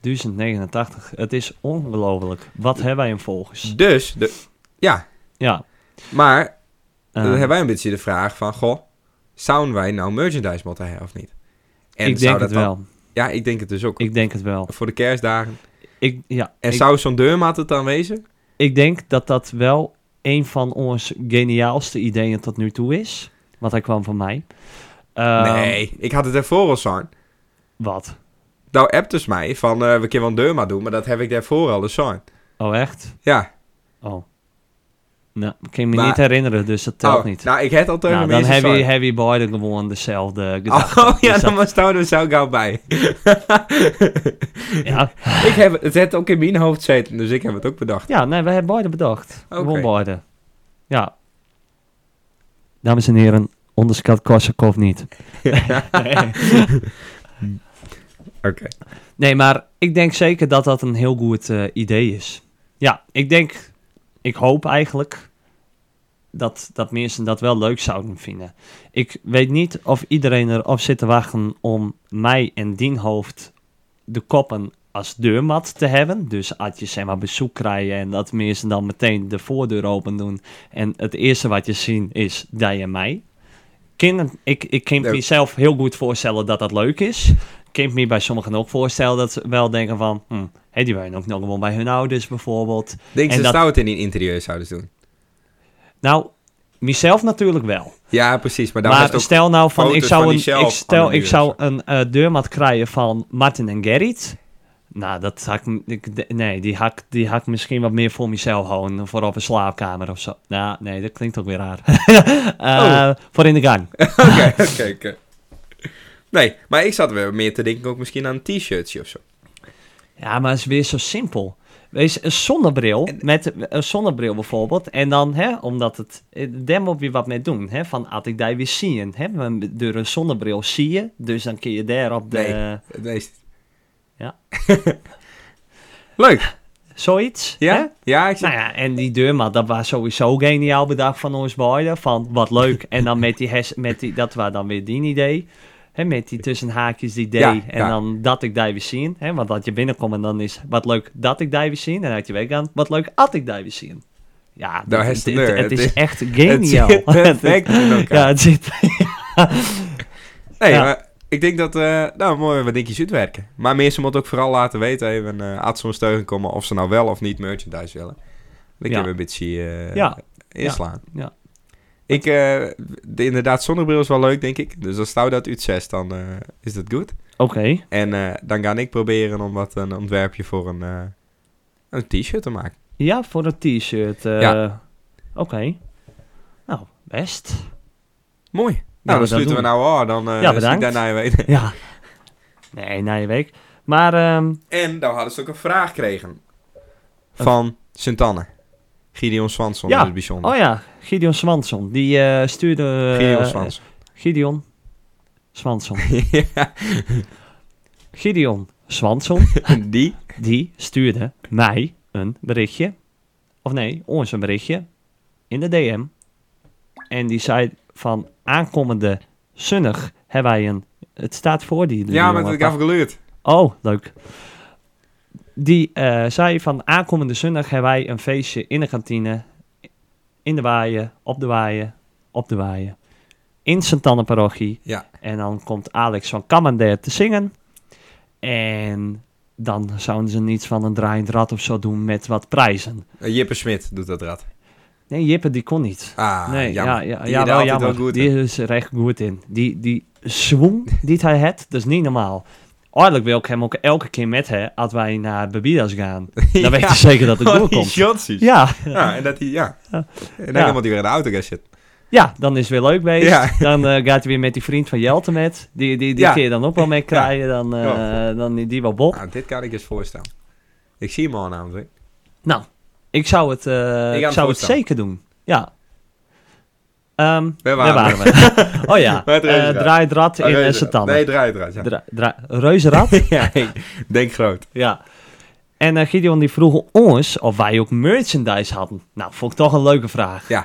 Speaker 1: 1089. Het is ongelooflijk. Wat hebben wij hem volgens?
Speaker 2: Dus, de, ja.
Speaker 1: Ja.
Speaker 2: Maar
Speaker 1: eh,
Speaker 2: dan hebben wij een beetje de vraag van... Goh, zouden wij nou merchandise moeten hebben of niet? En
Speaker 1: ik
Speaker 2: zou
Speaker 1: denk
Speaker 2: dat
Speaker 1: het
Speaker 2: dan-
Speaker 1: wel.
Speaker 2: Ja, ik denk het dus ook.
Speaker 1: Ik denk het wel.
Speaker 2: Voor de kerstdagen.
Speaker 1: Ik, ja,
Speaker 2: En
Speaker 1: ik,
Speaker 2: zou zo'n deurmaat het dan wezen?
Speaker 1: ik denk dat dat wel een van onze geniaalste ideeën tot nu toe is. Want hij kwam van mij. Ehm,
Speaker 2: nee, ik had het ervoor al zo'n.
Speaker 1: Wat?
Speaker 2: Nou appt dus mij van... eh, we kunnen wel een deurmaat doen, maar dat heb ik daarvoor al eens zo'n.
Speaker 1: Oh, echt?
Speaker 2: Ja.
Speaker 1: Oh. Nou, ik kan me
Speaker 2: Maar-
Speaker 1: niet herinneren, dus dat telt
Speaker 2: Oh,
Speaker 1: niet.
Speaker 2: Nou, ik heb al tegen
Speaker 1: Nou, dan
Speaker 2: mensen
Speaker 1: heb [LAUGHS]
Speaker 2: zo'n.
Speaker 1: je, heb je beide gewoon dezelfde gedachten.
Speaker 2: Oh ja,
Speaker 1: Dus
Speaker 2: dan
Speaker 1: dat-
Speaker 2: was daar dus zo gauw bij.
Speaker 1: [LAUGHS] ja.
Speaker 2: ik heb het heeft ook in mijn hoofd zitten, dus ik heb het ook bedacht.
Speaker 1: Ja, nee, we hebben beide bedacht.
Speaker 2: Oké.
Speaker 1: Gewoon beide. Ja. Dames en heren, onderschat Korsakov niet.
Speaker 2: Oké.
Speaker 1: Nee, maar ik denk zeker dat dat een heel goed eh, idee is. Ja, ik denk, ik hoop eigenlijk dat, dat mensen dat wel leuk zouden vinden. Ik weet niet of iedereen erop zit te wachten om mij en Dien hoofd de koppen als deurmat te hebben. Dus als je zeg maar bezoek krijgt en dat mensen dan meteen de voordeur open doen. En het eerste wat je ziet is jij en mij. Kinderen, ik, ik kan
Speaker 2: Leuk.
Speaker 1: mezelf heel goed voorstellen dat dat leuk is. Ik kan me bij sommigen ook voorstellen dat ze wel denken van... Hm, hé, die waren ook nog gewoon bij hun ouders bijvoorbeeld.
Speaker 2: Denk
Speaker 1: En
Speaker 2: ze
Speaker 1: dat-
Speaker 2: zou het in een interieur zouden doen.
Speaker 1: Nou, mezelf natuurlijk wel.
Speaker 2: Ja, precies. Maar daar was
Speaker 1: Maar
Speaker 2: het ook...
Speaker 1: stel nou van, ik
Speaker 2: foto's
Speaker 1: zou
Speaker 2: van
Speaker 1: een,
Speaker 2: jezelf
Speaker 1: ik
Speaker 2: aan
Speaker 1: stel,
Speaker 2: de
Speaker 1: ik
Speaker 2: muur
Speaker 1: zou een eh, deurmat krijgen van Martin en Gerrit. Nou, dat had ik, ik- de- nee, die had, ik- die had ik misschien wat meer voor mezelf houden. Voor op een slaapkamer of zo. Nou, nee, dat klinkt ook weer raar. [LAUGHS] Eh,
Speaker 2: Oh.
Speaker 1: Voor in de gang.
Speaker 2: Oké, [LAUGHS] oké, oké. Nee, maar ik zat weer meer te denken ook misschien aan een t-shirtje of zo.
Speaker 1: Ja, maar het is weer zo simpel. Wees een zonnebril, met een zonnebril bijvoorbeeld. En dan, hè, omdat het, eh, daar moet je wat mee doen. Hè, van, had ik daar weer zien. Hè, want door een zonnebril zie je, dus dan kun je daar op de...
Speaker 2: Nee. Het meest.
Speaker 1: Ja.
Speaker 2: [LAUGHS] Leuk.
Speaker 1: Zoiets. hè?
Speaker 2: Ja? Ja, ik zit...
Speaker 1: Nou ja, en die deurmat, dat was sowieso geniaal bedacht van ons beiden. Van wat leuk. En dan met die, hes, met die dat was dan weer die idee. hè met die tussen haakjes die idee.
Speaker 2: Ja,
Speaker 1: en
Speaker 2: ja.
Speaker 1: dan dat ik daar weer zien. hè want dat je binnenkomt en dan is wat leuk dat ik daar weer zien. En dan had je weg aan wat leuk had ik daar weer zien. Ja,
Speaker 2: Daar
Speaker 1: dat-
Speaker 2: is de
Speaker 1: het,
Speaker 2: deur.
Speaker 1: het
Speaker 2: Het
Speaker 1: is
Speaker 2: is-
Speaker 1: echt
Speaker 2: het
Speaker 1: geniaal. [LAUGHS]
Speaker 2: zit perfect in elkaar.
Speaker 1: ja, het zit...
Speaker 2: Nee,
Speaker 1: Ja.
Speaker 2: maar ik denk dat... eh, nou, mooi wat je uitwerken. werken. Maar mensen moeten ook vooral laten weten even... eh aan zo'n steun komen of ze nou wel of niet merchandise willen. Dan
Speaker 1: Ja.
Speaker 2: kunnen we een beetje eh,
Speaker 1: Ja.
Speaker 2: inslaan.
Speaker 1: Ja.
Speaker 2: Ik, eh, de, inderdaad, zonnebril is wel leuk, denk ik. Dus als stout dat uit 6, dan eh, is dat goed.
Speaker 1: Oké,
Speaker 2: En eh, dan ga ik proberen om wat een ontwerpje voor een, eh, een t-shirt te maken.
Speaker 1: ja, voor een t-shirt. eh,
Speaker 2: Ja.
Speaker 1: Oké. Nou, best.
Speaker 2: Mooi. Nou,
Speaker 1: we
Speaker 2: dan
Speaker 1: dat
Speaker 2: sluiten we
Speaker 1: doen.
Speaker 2: nou af. Dan eh
Speaker 1: Ja,
Speaker 2: zie ik
Speaker 1: bedankt.
Speaker 2: daarna je weten.
Speaker 1: Ja. Nee, na je week. Maar... ehm,
Speaker 2: En dan hadden ze ook een vraag gekregen. Van Sint-Anne. Gideon Swanson,
Speaker 1: Ja.
Speaker 2: dat is bijzonder.
Speaker 1: Oh ja, Gideon Swanson. Die eh, stuurde... eh,
Speaker 2: Gideon
Speaker 1: [LAUGHS]
Speaker 2: Swanson.
Speaker 1: Gideon Swanson. [LAUGHS] Gideon Swanson,
Speaker 2: Die?
Speaker 1: die stuurde mij een berichtje. Of nee, ons een berichtje. In de DM. En die zei van aankomende zonnig hebben wij een... Het staat voor die die
Speaker 2: Ja, maar
Speaker 1: jongen.
Speaker 2: dat ik afgeluurd.
Speaker 1: Oh, leuk. Die eh, zei van aankomende zondag hebben wij een feestje in de kantine. In de waaien, op de waaien, op de waaien. In sint Anne-parochie.
Speaker 2: Ja.
Speaker 1: En dan komt Alex van Cammandair te zingen. En dan zouden ze niets van een draaiend rad of zo doen met wat prijzen.
Speaker 2: Eh, Jippe Smit doet dat rad.
Speaker 1: Nee, Jippe die kon niet.
Speaker 2: Ah,
Speaker 1: nee,
Speaker 2: jammer.
Speaker 1: ja, ja,
Speaker 2: Die
Speaker 1: ja
Speaker 2: deed
Speaker 1: wel
Speaker 2: altijd
Speaker 1: jammer.
Speaker 2: wel goed,
Speaker 1: die eh, is er echt goed in. Die, die zwoem die hij had, dat is niet normaal. Eigenlijk wil ik hem ook elke keer met hè, als wij naar Babidas
Speaker 2: [LAUGHS]
Speaker 1: gaan. Dan weet je zeker dat het
Speaker 2: Oh,
Speaker 1: goed
Speaker 2: die
Speaker 1: komt.
Speaker 2: shotsies. Ja.
Speaker 1: Ja,
Speaker 2: en dat hij, ja. En dan
Speaker 1: Ja. Oh.
Speaker 2: iemand die weer in de auto gaat zitten.
Speaker 1: ja, dan is het weer leuk geweest.
Speaker 2: Ja.
Speaker 1: Dan eh, gaat hij weer met die vriend van Jelte met. Die, die, die
Speaker 2: [LAUGHS] Ja.
Speaker 1: kun je dan ook wel mee krijgen. Dan, eh, dan die- die wel bol.
Speaker 2: Nou, dit kan ik eens voorstellen. Ik zie hem al namelijk.
Speaker 1: Nou, ik zou het, eh,
Speaker 2: hem
Speaker 1: ik zou het
Speaker 2: voorstellen.
Speaker 1: zeker doen. Ja. Ehm
Speaker 2: Waar
Speaker 1: waar
Speaker 2: waren
Speaker 1: waren we? [LAUGHS] oh ja,
Speaker 2: Bij het
Speaker 1: eh,
Speaker 2: reuzenrad.
Speaker 1: draai het rad in
Speaker 2: Oh,
Speaker 1: uh,
Speaker 2: reuzenrad. Nee,
Speaker 1: Satan.
Speaker 2: draai het rad, ja.
Speaker 1: Reuzenrad?
Speaker 2: [LAUGHS] ja, ik denk groot.
Speaker 1: Ja. En eh, Gideon die vroeg ons of wij ook merchandise hadden. Nou, vond ik toch een leuke vraag.
Speaker 2: Ja.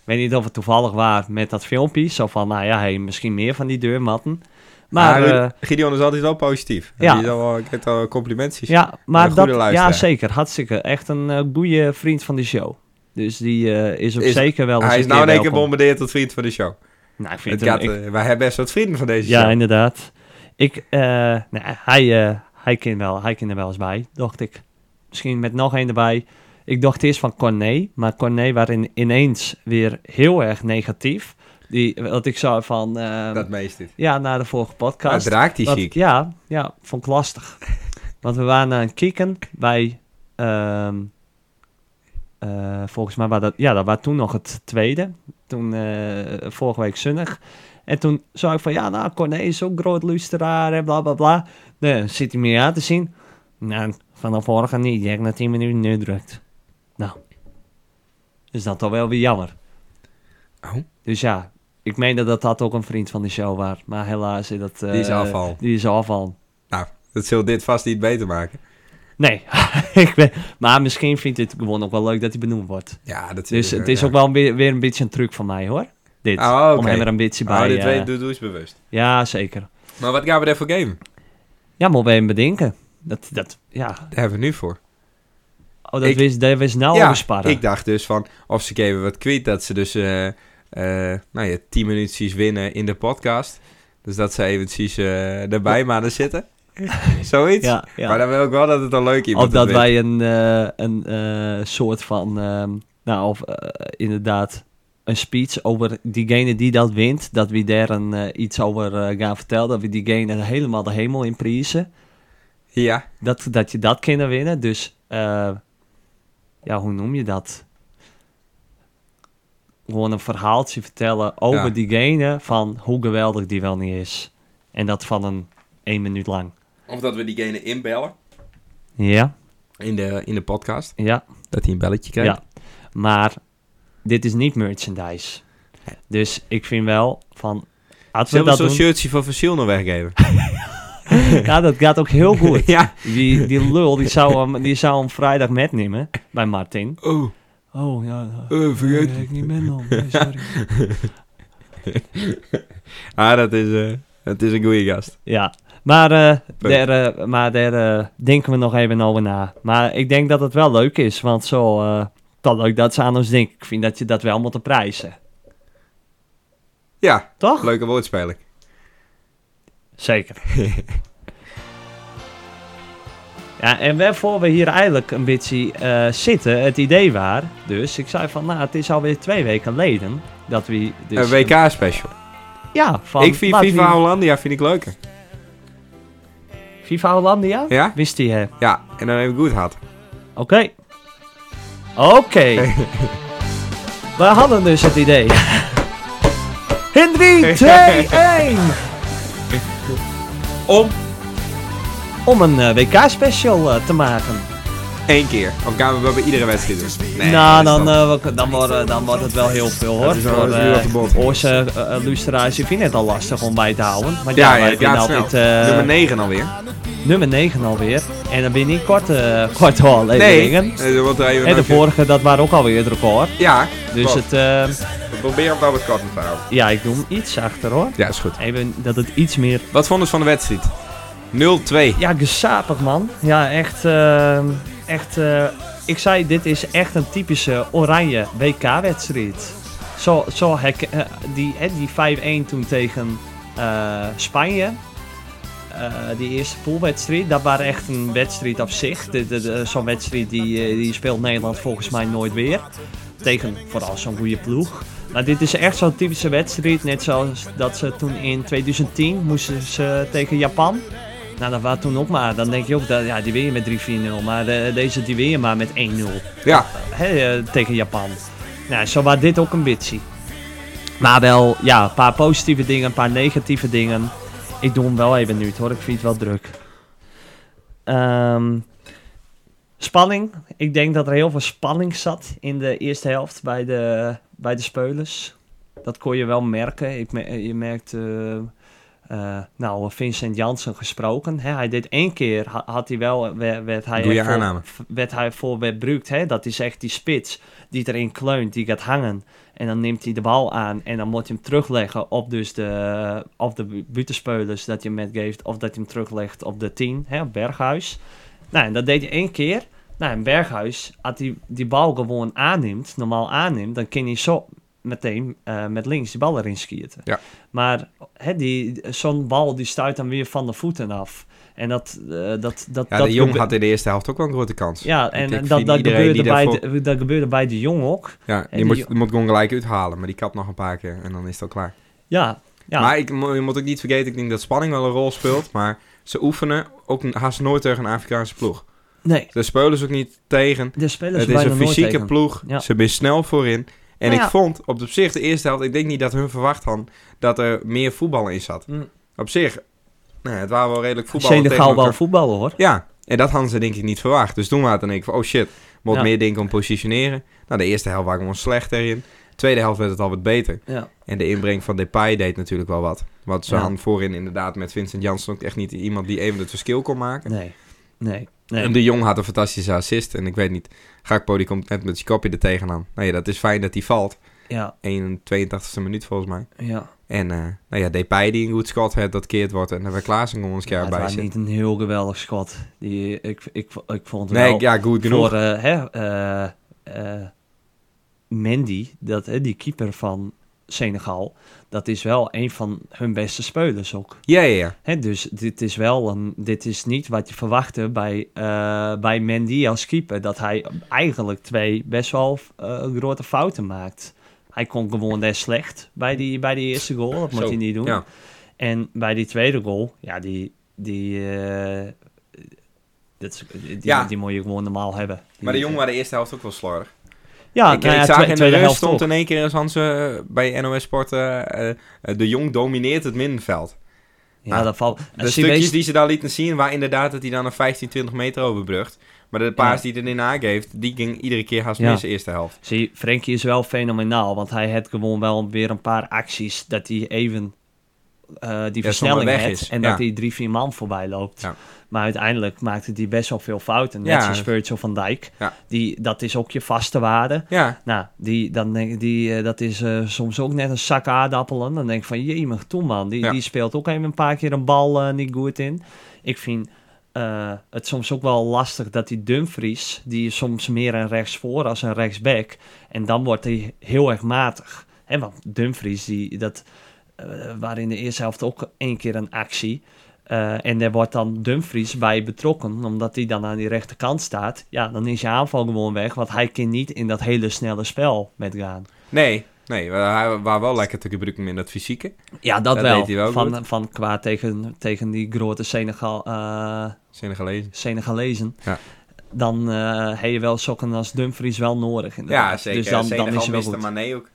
Speaker 1: Ik weet niet of het toevallig was met dat filmpje. Zo van, nou ja, hey, misschien meer van die deurmatten. Maar,
Speaker 2: Maar,
Speaker 1: eh,
Speaker 2: Nou, Gideon is altijd wel positief.
Speaker 1: ja.
Speaker 2: Ja. Die is al wel, ik heb al complimentjes.
Speaker 1: ja,
Speaker 2: een
Speaker 1: maar
Speaker 2: goede
Speaker 1: dat, ja,
Speaker 2: luisteraar.
Speaker 1: zeker. Hartstikke. Echt een eh, goede vriend van de show. Dus die eh, is ook
Speaker 2: Is-
Speaker 1: zeker wel eens
Speaker 2: Hij is
Speaker 1: een
Speaker 2: nou in
Speaker 1: keer
Speaker 2: één keer
Speaker 1: welkom.
Speaker 2: bombardeerd tot vriend van de show.
Speaker 1: Nou, ik vind
Speaker 2: Het
Speaker 1: het
Speaker 2: gaat, eh, wij hebben best wat vrienden van deze
Speaker 1: Ja,
Speaker 2: show.
Speaker 1: inderdaad. Ik, eh, nou, hij, eh, hij, kan wel, hij kan er wel eens bij, dacht ik. Misschien met nog één erbij. Ik dacht eerst van Corné, maar Corné was in- ineens weer heel erg negatief. Die, wat ik zou van, eh,
Speaker 2: Dat meest dit.
Speaker 1: ja, na de vorige
Speaker 2: Dat
Speaker 1: podcast.
Speaker 2: raakt die
Speaker 1: Wat-
Speaker 2: chic.
Speaker 1: Ja, ja, vond ik
Speaker 2: [LAUGHS]
Speaker 1: lastig. Want we waren aan het kicken bij, ehm, eh, volgens mij, was dat, ja, dat was toen nog het tweede. Toen, eh, vorige week zonnig. En toen zag ik van, ja, nou, Corné is ook groot luisteraar en bla, bla, bla. Nee, dan zit hij meer aan te zien. Nou, vanaf morgen niet. Je hebt na 10 minuten neerdrukt. Nou, is dat toch wel weer jammer.
Speaker 2: Oh.
Speaker 1: Dus ja, ik meende dat dat ook een vriend van de show was. Maar helaas is dat... eh,
Speaker 2: Die is afval.
Speaker 1: Die is afval.
Speaker 2: Dat zult dit vast niet beter maken.
Speaker 1: Nee, [LAUGHS] ik ben, maar misschien vindt hij het gewoon ook wel leuk dat hij benoemd wordt.
Speaker 2: Ja, dat
Speaker 1: Dus
Speaker 2: eh,
Speaker 1: het is
Speaker 2: ja.
Speaker 1: ook wel weer, weer een beetje een truc van mij hoor. Dit,
Speaker 2: Ah, oké.
Speaker 1: om hem er een beetje bij...
Speaker 2: Oh, dit
Speaker 1: eh,
Speaker 2: weet doe, doe eens bewust.
Speaker 1: ja, zeker.
Speaker 2: Maar wat gaan we daarvoor gamen?
Speaker 1: Ja, moet we hem bedenken. Dat, dat, ja.
Speaker 2: Daar hebben we nu voor.
Speaker 1: Oh, dat
Speaker 2: Ik-
Speaker 1: wist dat wist nou
Speaker 2: ja,
Speaker 1: over sparren.
Speaker 2: ik dacht dus van... Of ze geven wat kwiet, dat ze dus... eh eh, nou ja, 10 minuutjes winnen in de podcast. Dus dat ze eventjes eh erbij maanden zitten. [LAUGHS] Zoiets.
Speaker 1: ja, ja.
Speaker 2: Maar dan wil ik wel dat het een leuk iemand
Speaker 1: Of dat
Speaker 2: het wint.
Speaker 1: wij een, eh, een eh, soort van, ehm, nou of eh, inderdaad een speech over diegene die dat wint. Dat we daar een, eh, iets over eh, gaan vertellen. Dat we diegene helemaal de hemel in prijzen.
Speaker 2: Ja,
Speaker 1: Dat, dat je dat kan winnen. Dus eh, ja, hoe noem je dat? Gewoon een verhaaltje vertellen over
Speaker 2: Ja.
Speaker 1: diegene van hoe geweldig die wel niet is. En dat van een één minuut lang.
Speaker 2: of dat we diegene inbellen
Speaker 1: Ja,
Speaker 2: in de, in de podcast.
Speaker 1: ja.
Speaker 2: Dat hij een belletje krijgt.
Speaker 1: Ja. Maar dit is niet merchandise. Dus ik vind wel van... Als we
Speaker 2: Zullen we
Speaker 1: dat
Speaker 2: zo'n
Speaker 1: doen,
Speaker 2: shirtje van Fossil nog
Speaker 1: [LAUGHS]
Speaker 2: weggeven?
Speaker 1: ja, dat gaat ook
Speaker 2: [LAUGHS]
Speaker 1: heel goed.
Speaker 2: ja.
Speaker 1: Die, die lul, die zou, hem, die zou hem vrijdag metnemen bij Martin.
Speaker 2: Oh,
Speaker 1: Oh, ja.
Speaker 2: eh, vergeet.
Speaker 1: ik niet met dan. Nee, sorry.
Speaker 2: Ah, dat is, eh, dat is een goede gast.
Speaker 1: Ja, maar eh,
Speaker 2: Punt.
Speaker 1: daar, eh, maar daar eh, denken we nog even over na. Maar ik denk dat het wel leuk is, want zo... eh dat leuk dat ze aan ons denken. Ik vind dat je dat wel moet prijzen.
Speaker 2: Ja,
Speaker 1: Toch?
Speaker 2: leuke woordspeling. [LAUGHS]
Speaker 1: Zeker. ja, en waarvoor we hier eigenlijk een beetje eh, zitten, het idee waar. Dus ik zei van, nou, het is alweer twee weken geleden dat we... Dus,
Speaker 2: een WK-special.
Speaker 1: ja, van...
Speaker 2: ik vind
Speaker 1: laat
Speaker 2: FIFA
Speaker 1: die-
Speaker 2: Hollandia vind ik leuker.
Speaker 1: FIFA Hollandia?
Speaker 2: Ja?
Speaker 1: Wist hij, hè? Oké.
Speaker 2: Ja, en dan heb ik goed gehad.
Speaker 1: Oké.
Speaker 2: [LAUGHS]
Speaker 1: we hadden dus het idee. In
Speaker 2: [LAUGHS]
Speaker 1: 3, 2, 1!
Speaker 2: Om
Speaker 1: Om een eh, WK-special eh, te maken.
Speaker 2: één keer. Of gaan we wel bij iedere wedstrijd doen?
Speaker 1: nou,
Speaker 2: dat
Speaker 1: dan,
Speaker 2: is dan-
Speaker 1: eh, we- dan, wordt, eh, dan wordt het wel heel veel hoor.
Speaker 2: Het is wel-
Speaker 1: Voor,
Speaker 2: het is nu
Speaker 1: eh,
Speaker 2: wat te bot.
Speaker 1: Onze eh, eh, luisteraars, ik vind het al lastig om bij te houden. Maar ja,
Speaker 2: Ja,
Speaker 1: wij
Speaker 2: ja, het
Speaker 1: vinden
Speaker 2: gaat snel.
Speaker 1: altijd eh,
Speaker 2: Nummer 9 alweer.
Speaker 1: nummer 9 alweer. En dan ben je niet kort, eh [LAUGHS] kort
Speaker 2: Nee,
Speaker 1: afleveringen.
Speaker 2: eh, er wordt er even
Speaker 1: en de
Speaker 2: nog-
Speaker 1: vorige, dat waren ook alweer het record.
Speaker 2: Ja,
Speaker 1: Dus
Speaker 2: klopt.
Speaker 1: het, eh,
Speaker 2: we proberen hem wel wat korter te houden.
Speaker 1: ja, ik doe hem iets achter hoor.
Speaker 2: Ja, is goed.
Speaker 1: Even dat het iets meer...
Speaker 2: Wat vonden ze van de wedstrijd? 0-2.
Speaker 1: Ja, gesapig man. Ja, echt... eh, echt eh, ik zei, dit is echt een typische oranje WK-wedstrijd. Zo, zo hek- eh, die, hè, die 5-1 toen tegen eh, Spanje. Eh, die eerste poolwedstrijd, dat was echt een wedstrijd op zich. De- de- de- Zo'n wedstrijd die, eh, die speelt Nederland volgens mij nooit weer. Tegen vooral zo'n goede ploeg. Maar dit is echt zo'n typische wedstrijd. Net zoals dat ze toen in 2010 moesten ze tegen Japan. Nou, dat was toen ook maar. Dan denk je ook, dat, ja, die win je met 3-4-0. Maar eh, deze die win je maar met 1-0
Speaker 2: Ja,
Speaker 1: hè, eh, tegen Japan. Nou, zo was dit ook een beetje. Maar wel, ja, een paar positieve dingen, een paar negatieve dingen. Ik doe hem wel even nu, hoor. Ik vind het wel druk. Ehm, spanning. Ik denk dat er heel veel spanning zat in de eerste helft bij de, bij de spelers. Dat kon je wel merken. Ik me- je merkt, eh, eh, nou, Vincent Jansen gesproken. Hè, hij deed één keer, ha- had hij wel, werd, werd hij
Speaker 2: Doe je
Speaker 1: echt voor-
Speaker 2: aanname.
Speaker 1: werd hij voor werd gebruikt, Hè? Dat is echt die spits die erin kleunt, die gaat hangen. En dan neemt hij de bal aan en dan moet je hem terugleggen op, dus de, op de bu- buitenspelers dat je hem metgeeft. Of dat je hem teruglegt op de 10, hè, op Berghuis. Nou, en dat deed hij één keer. Nou, en Berghuis, als hij die bal gewoon aanneemt, normaal aanneemt, dan kan hij zo meteen eh, met links die bal erin schieten.
Speaker 2: Ja.
Speaker 1: Maar hè, die- zo'n bal die stuit dan weer van de voeten af. En dat... eh, dat, dat,
Speaker 2: ja
Speaker 1: dat
Speaker 2: de Jong
Speaker 1: gebe-
Speaker 2: had in de eerste helft ook wel een grote kans. Ja,
Speaker 1: ja,
Speaker 2: Want
Speaker 1: en
Speaker 2: ik
Speaker 1: dat,
Speaker 2: vind
Speaker 1: dat,
Speaker 2: iedereen
Speaker 1: gebeurde
Speaker 2: die
Speaker 1: bij
Speaker 2: daarvoor-
Speaker 1: de, dat gebeurde bij de jong ook.
Speaker 2: die,
Speaker 1: de
Speaker 2: moet,
Speaker 1: Jo-
Speaker 2: die moet gewoon gelijk uithalen, maar die kapt nog een paar keer en dan is het al klaar.
Speaker 1: Ja, ja.
Speaker 2: Maar ik, mo- je moet ook niet vergeten, ik denk dat spanning wel een rol speelt, maar ze oefenen ook n- haast nooit tegen een Afrikaanse ploeg.
Speaker 1: nee,
Speaker 2: Daar spelen ze ook niet tegen.
Speaker 1: de spelers
Speaker 2: Het is
Speaker 1: bijna
Speaker 2: een
Speaker 1: nooit
Speaker 2: fysieke
Speaker 1: tegen.
Speaker 2: ploeg,
Speaker 1: Ja.
Speaker 2: ze zijn snel voorin. En
Speaker 1: Nou
Speaker 2: ik
Speaker 1: ja.
Speaker 2: vond op, op zich de eerste helft, ik denk niet dat hun verwacht hadden dat er meer voetbal in zat.
Speaker 1: Mm.
Speaker 2: Op zich, nou, ja, het waren wel redelijk voetbal.
Speaker 1: Senegal wel voetballen hoor.
Speaker 2: Ja, en dat hadden ze denk ik niet verwacht. Dus toen waren ik van, oh shit, moet
Speaker 1: Ja.
Speaker 2: meer denken om positioneren. Nou, de eerste helft waren we gewoon slecht erin. De tweede helft werd het al wat beter.
Speaker 1: Ja.
Speaker 2: En de inbreng van Depay deed natuurlijk wel wat. Want ze
Speaker 1: Ja.
Speaker 2: hadden voorin inderdaad met Vincent Janssen ook echt niet iemand die even het verschil kon maken.
Speaker 1: Nee, nee, nee.
Speaker 2: En De Jong had een fantastische assist. En ik weet niet, Gakpo die komt net met zijn kopje er tegenaan. Nou ja, dat is fijn dat hij valt.
Speaker 1: ja,
Speaker 2: 82e minuut volgens mij.
Speaker 1: ja.
Speaker 2: En eh nou ja, Depay die een goed schot had, dat keert wordt. En dan werd Klaassen gewoon ons keer
Speaker 1: Ja, het
Speaker 2: bij
Speaker 1: was
Speaker 2: zitten.
Speaker 1: niet een heel geweldig schot. Die, ik, ik, ik vond het
Speaker 2: Nee,
Speaker 1: wel
Speaker 2: ja, goed genoeg.
Speaker 1: voor eh, hè, eh, eh, Mendy, dat, hè, die keeper van Senegal, dat is wel een van hun beste spelers ook.
Speaker 2: Ja, ja, ja.
Speaker 1: Hè, dus dit is wel een, dit is niet wat je verwachtte bij, eh, bij Mendy als keeper. Dat hij eigenlijk twee best wel eh, grote fouten maakt. Hij kon gewoon net slecht bij die, bij die eerste goal. Dat moet
Speaker 2: Zo,
Speaker 1: hij niet doen.
Speaker 2: Ja.
Speaker 1: En bij die tweede goal, ja, die. die eh, dat is- die,
Speaker 2: Ja.
Speaker 1: die moet je gewoon normaal hebben.
Speaker 2: Maar de jongen waren de eerste helft ook wel slordig.
Speaker 1: Ja,
Speaker 2: ik,
Speaker 1: nou
Speaker 2: ik
Speaker 1: ja,
Speaker 2: zag
Speaker 1: twe-
Speaker 2: in de
Speaker 1: tweede
Speaker 2: rust
Speaker 1: helft
Speaker 2: stond
Speaker 1: ook.
Speaker 2: in één keer als Hans eh, bij NOS Sport... eh, eh, de Jong domineert het middenveld.
Speaker 1: Ja, dat valt.
Speaker 2: De
Speaker 1: Als je
Speaker 2: stukjes
Speaker 1: weet-
Speaker 2: die ze daar lieten zien, waar inderdaad dat hij dan een 15, 20 meter overbrugt. Maar de paas die hij erin aangeeft, die ging iedere keer haast
Speaker 1: Ja.
Speaker 2: mis de eerste helft.
Speaker 1: Zie, Frenkie is wel fenomenaal, want hij heeft gewoon wel weer een paar acties dat hij even eh, die versnelling
Speaker 2: weg
Speaker 1: heeft
Speaker 2: is,
Speaker 1: en
Speaker 2: ja.
Speaker 1: dat hij drie, vier man voorbij loopt.
Speaker 2: Ja.
Speaker 1: Maar uiteindelijk maakte hij best wel veel fouten, net
Speaker 2: Ja.
Speaker 1: zoals Virgil van Dijk.
Speaker 2: Ja.
Speaker 1: Die, dat is ook je vaste waarde.
Speaker 2: Ja,
Speaker 1: Nou, die, dan denk, ik- die, eh, dat is eh, soms ook net een zak aardappelen. Dan denk ik van, jemig, toen man. Die,
Speaker 2: Ja.
Speaker 1: die speelt ook even een paar keer een bal eh, niet goed in. Ik vind eh, het soms ook wel lastig dat die Dumfries... die is soms meer een rechtsvoor als een rechtsback. En dan wordt hij heel erg matig. Hè, want Dumfries, die, dat, eh waar in de eerste helft ook één keer een actie... Eh, en daar wordt dan Dumfries bij betrokken, omdat hij dan aan die rechterkant staat. Ja, dan is je aanval gewoon weg, want hij kan niet in dat hele snelle spel met gaan.
Speaker 2: nee. Nee, hij was wel lekker te gebruiken in dat fysieke.
Speaker 1: Ja, dat,
Speaker 2: Dat
Speaker 1: wel.
Speaker 2: deed hij wel
Speaker 1: van, van qua tegen, tegen die grote Senegal, eh,
Speaker 2: Zinnen gelezen.
Speaker 1: Senegalezen.
Speaker 2: Ja.
Speaker 1: Dan eh heb je wel sokken als Dumfries wel nodig. Inderdaad.
Speaker 2: Ja, zeker.
Speaker 1: Dus dan, dan is het wel goed.
Speaker 2: Mané ook.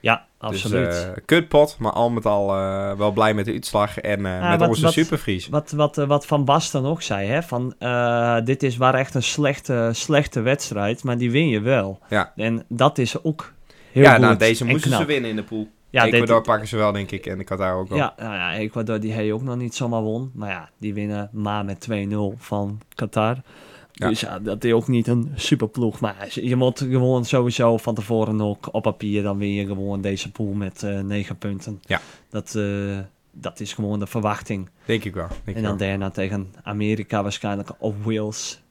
Speaker 1: Ja,
Speaker 2: Dus,
Speaker 1: absoluut.
Speaker 2: eh, kutpot, maar al met al eh, wel blij met de uitslag en eh,
Speaker 1: Ja,
Speaker 2: met
Speaker 1: wat-
Speaker 2: onze
Speaker 1: wat-
Speaker 2: supervries.
Speaker 1: Wat, wat, eh, wat Van Basten ook zei, hè? Van, eh, dit is waar echt een slechte, slechte wedstrijd, maar die win je wel.
Speaker 2: Ja.
Speaker 1: En dat is ook heel
Speaker 2: Ja,
Speaker 1: goed
Speaker 2: nou, deze
Speaker 1: en
Speaker 2: moesten
Speaker 1: knap.
Speaker 2: ze winnen in de pool.
Speaker 1: Ja, dit-
Speaker 2: Ecuador pakken ze wel, denk ik. En ik had daar ook wel.
Speaker 1: ja, nou ja, Ecuador die hij ook nog niet zomaar won. Maar ja, die winnen maar met 2-0 van Qatar.
Speaker 2: Ja.
Speaker 1: Dus ja, dat is ook niet een superploeg. Maar je- je moet gewoon sowieso van tevoren ook op papier... dan win je gewoon deze pool met eh 9 punten.
Speaker 2: Ja.
Speaker 1: Dat, eh, dat is gewoon de verwachting.
Speaker 2: Denk ik wel. Denk
Speaker 1: En
Speaker 2: ik
Speaker 1: dan
Speaker 2: wel.
Speaker 1: daarna tegen Amerika waarschijnlijk of Wales.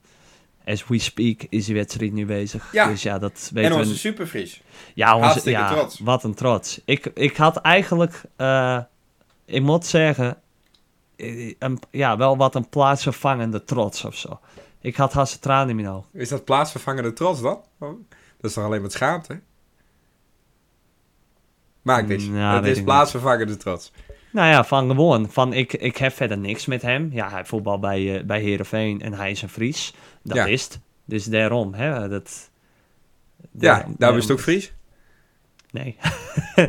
Speaker 1: As we speak is die wedstrijd nu bezig.
Speaker 2: Ja.
Speaker 1: Dus ja, dat
Speaker 2: En
Speaker 1: weten we.
Speaker 2: onze
Speaker 1: niet.
Speaker 2: supervries.
Speaker 1: Ja, onze,
Speaker 2: hartstikke
Speaker 1: ja
Speaker 2: trots.
Speaker 1: wat een trots. Ik, ik had eigenlijk, eh, ik moet zeggen, eh, een, ja, wel wat een plaatsvervangende trots of zo. Ik had haast tranen in mijn ogen.
Speaker 2: Is dat plaatsvervangende trots dan? Oh, Dat is toch alleen wat schaamte? Maak dit.
Speaker 1: Nou,
Speaker 2: dat
Speaker 1: weet ik
Speaker 2: is
Speaker 1: niet.
Speaker 2: plaatsvervangende trots.
Speaker 1: Nou ja, van gewoon. Van ik, ik heb verder niks met hem. Ja, hij voetbal bij, eh bij Heerenveen en hij is een Fries. Dat
Speaker 2: Ja.
Speaker 1: is het. Dus daarom, hè, dat... eh,
Speaker 2: Ja, daar
Speaker 1: is
Speaker 2: wist ook Fries. [LAUGHS]
Speaker 1: Nee. ik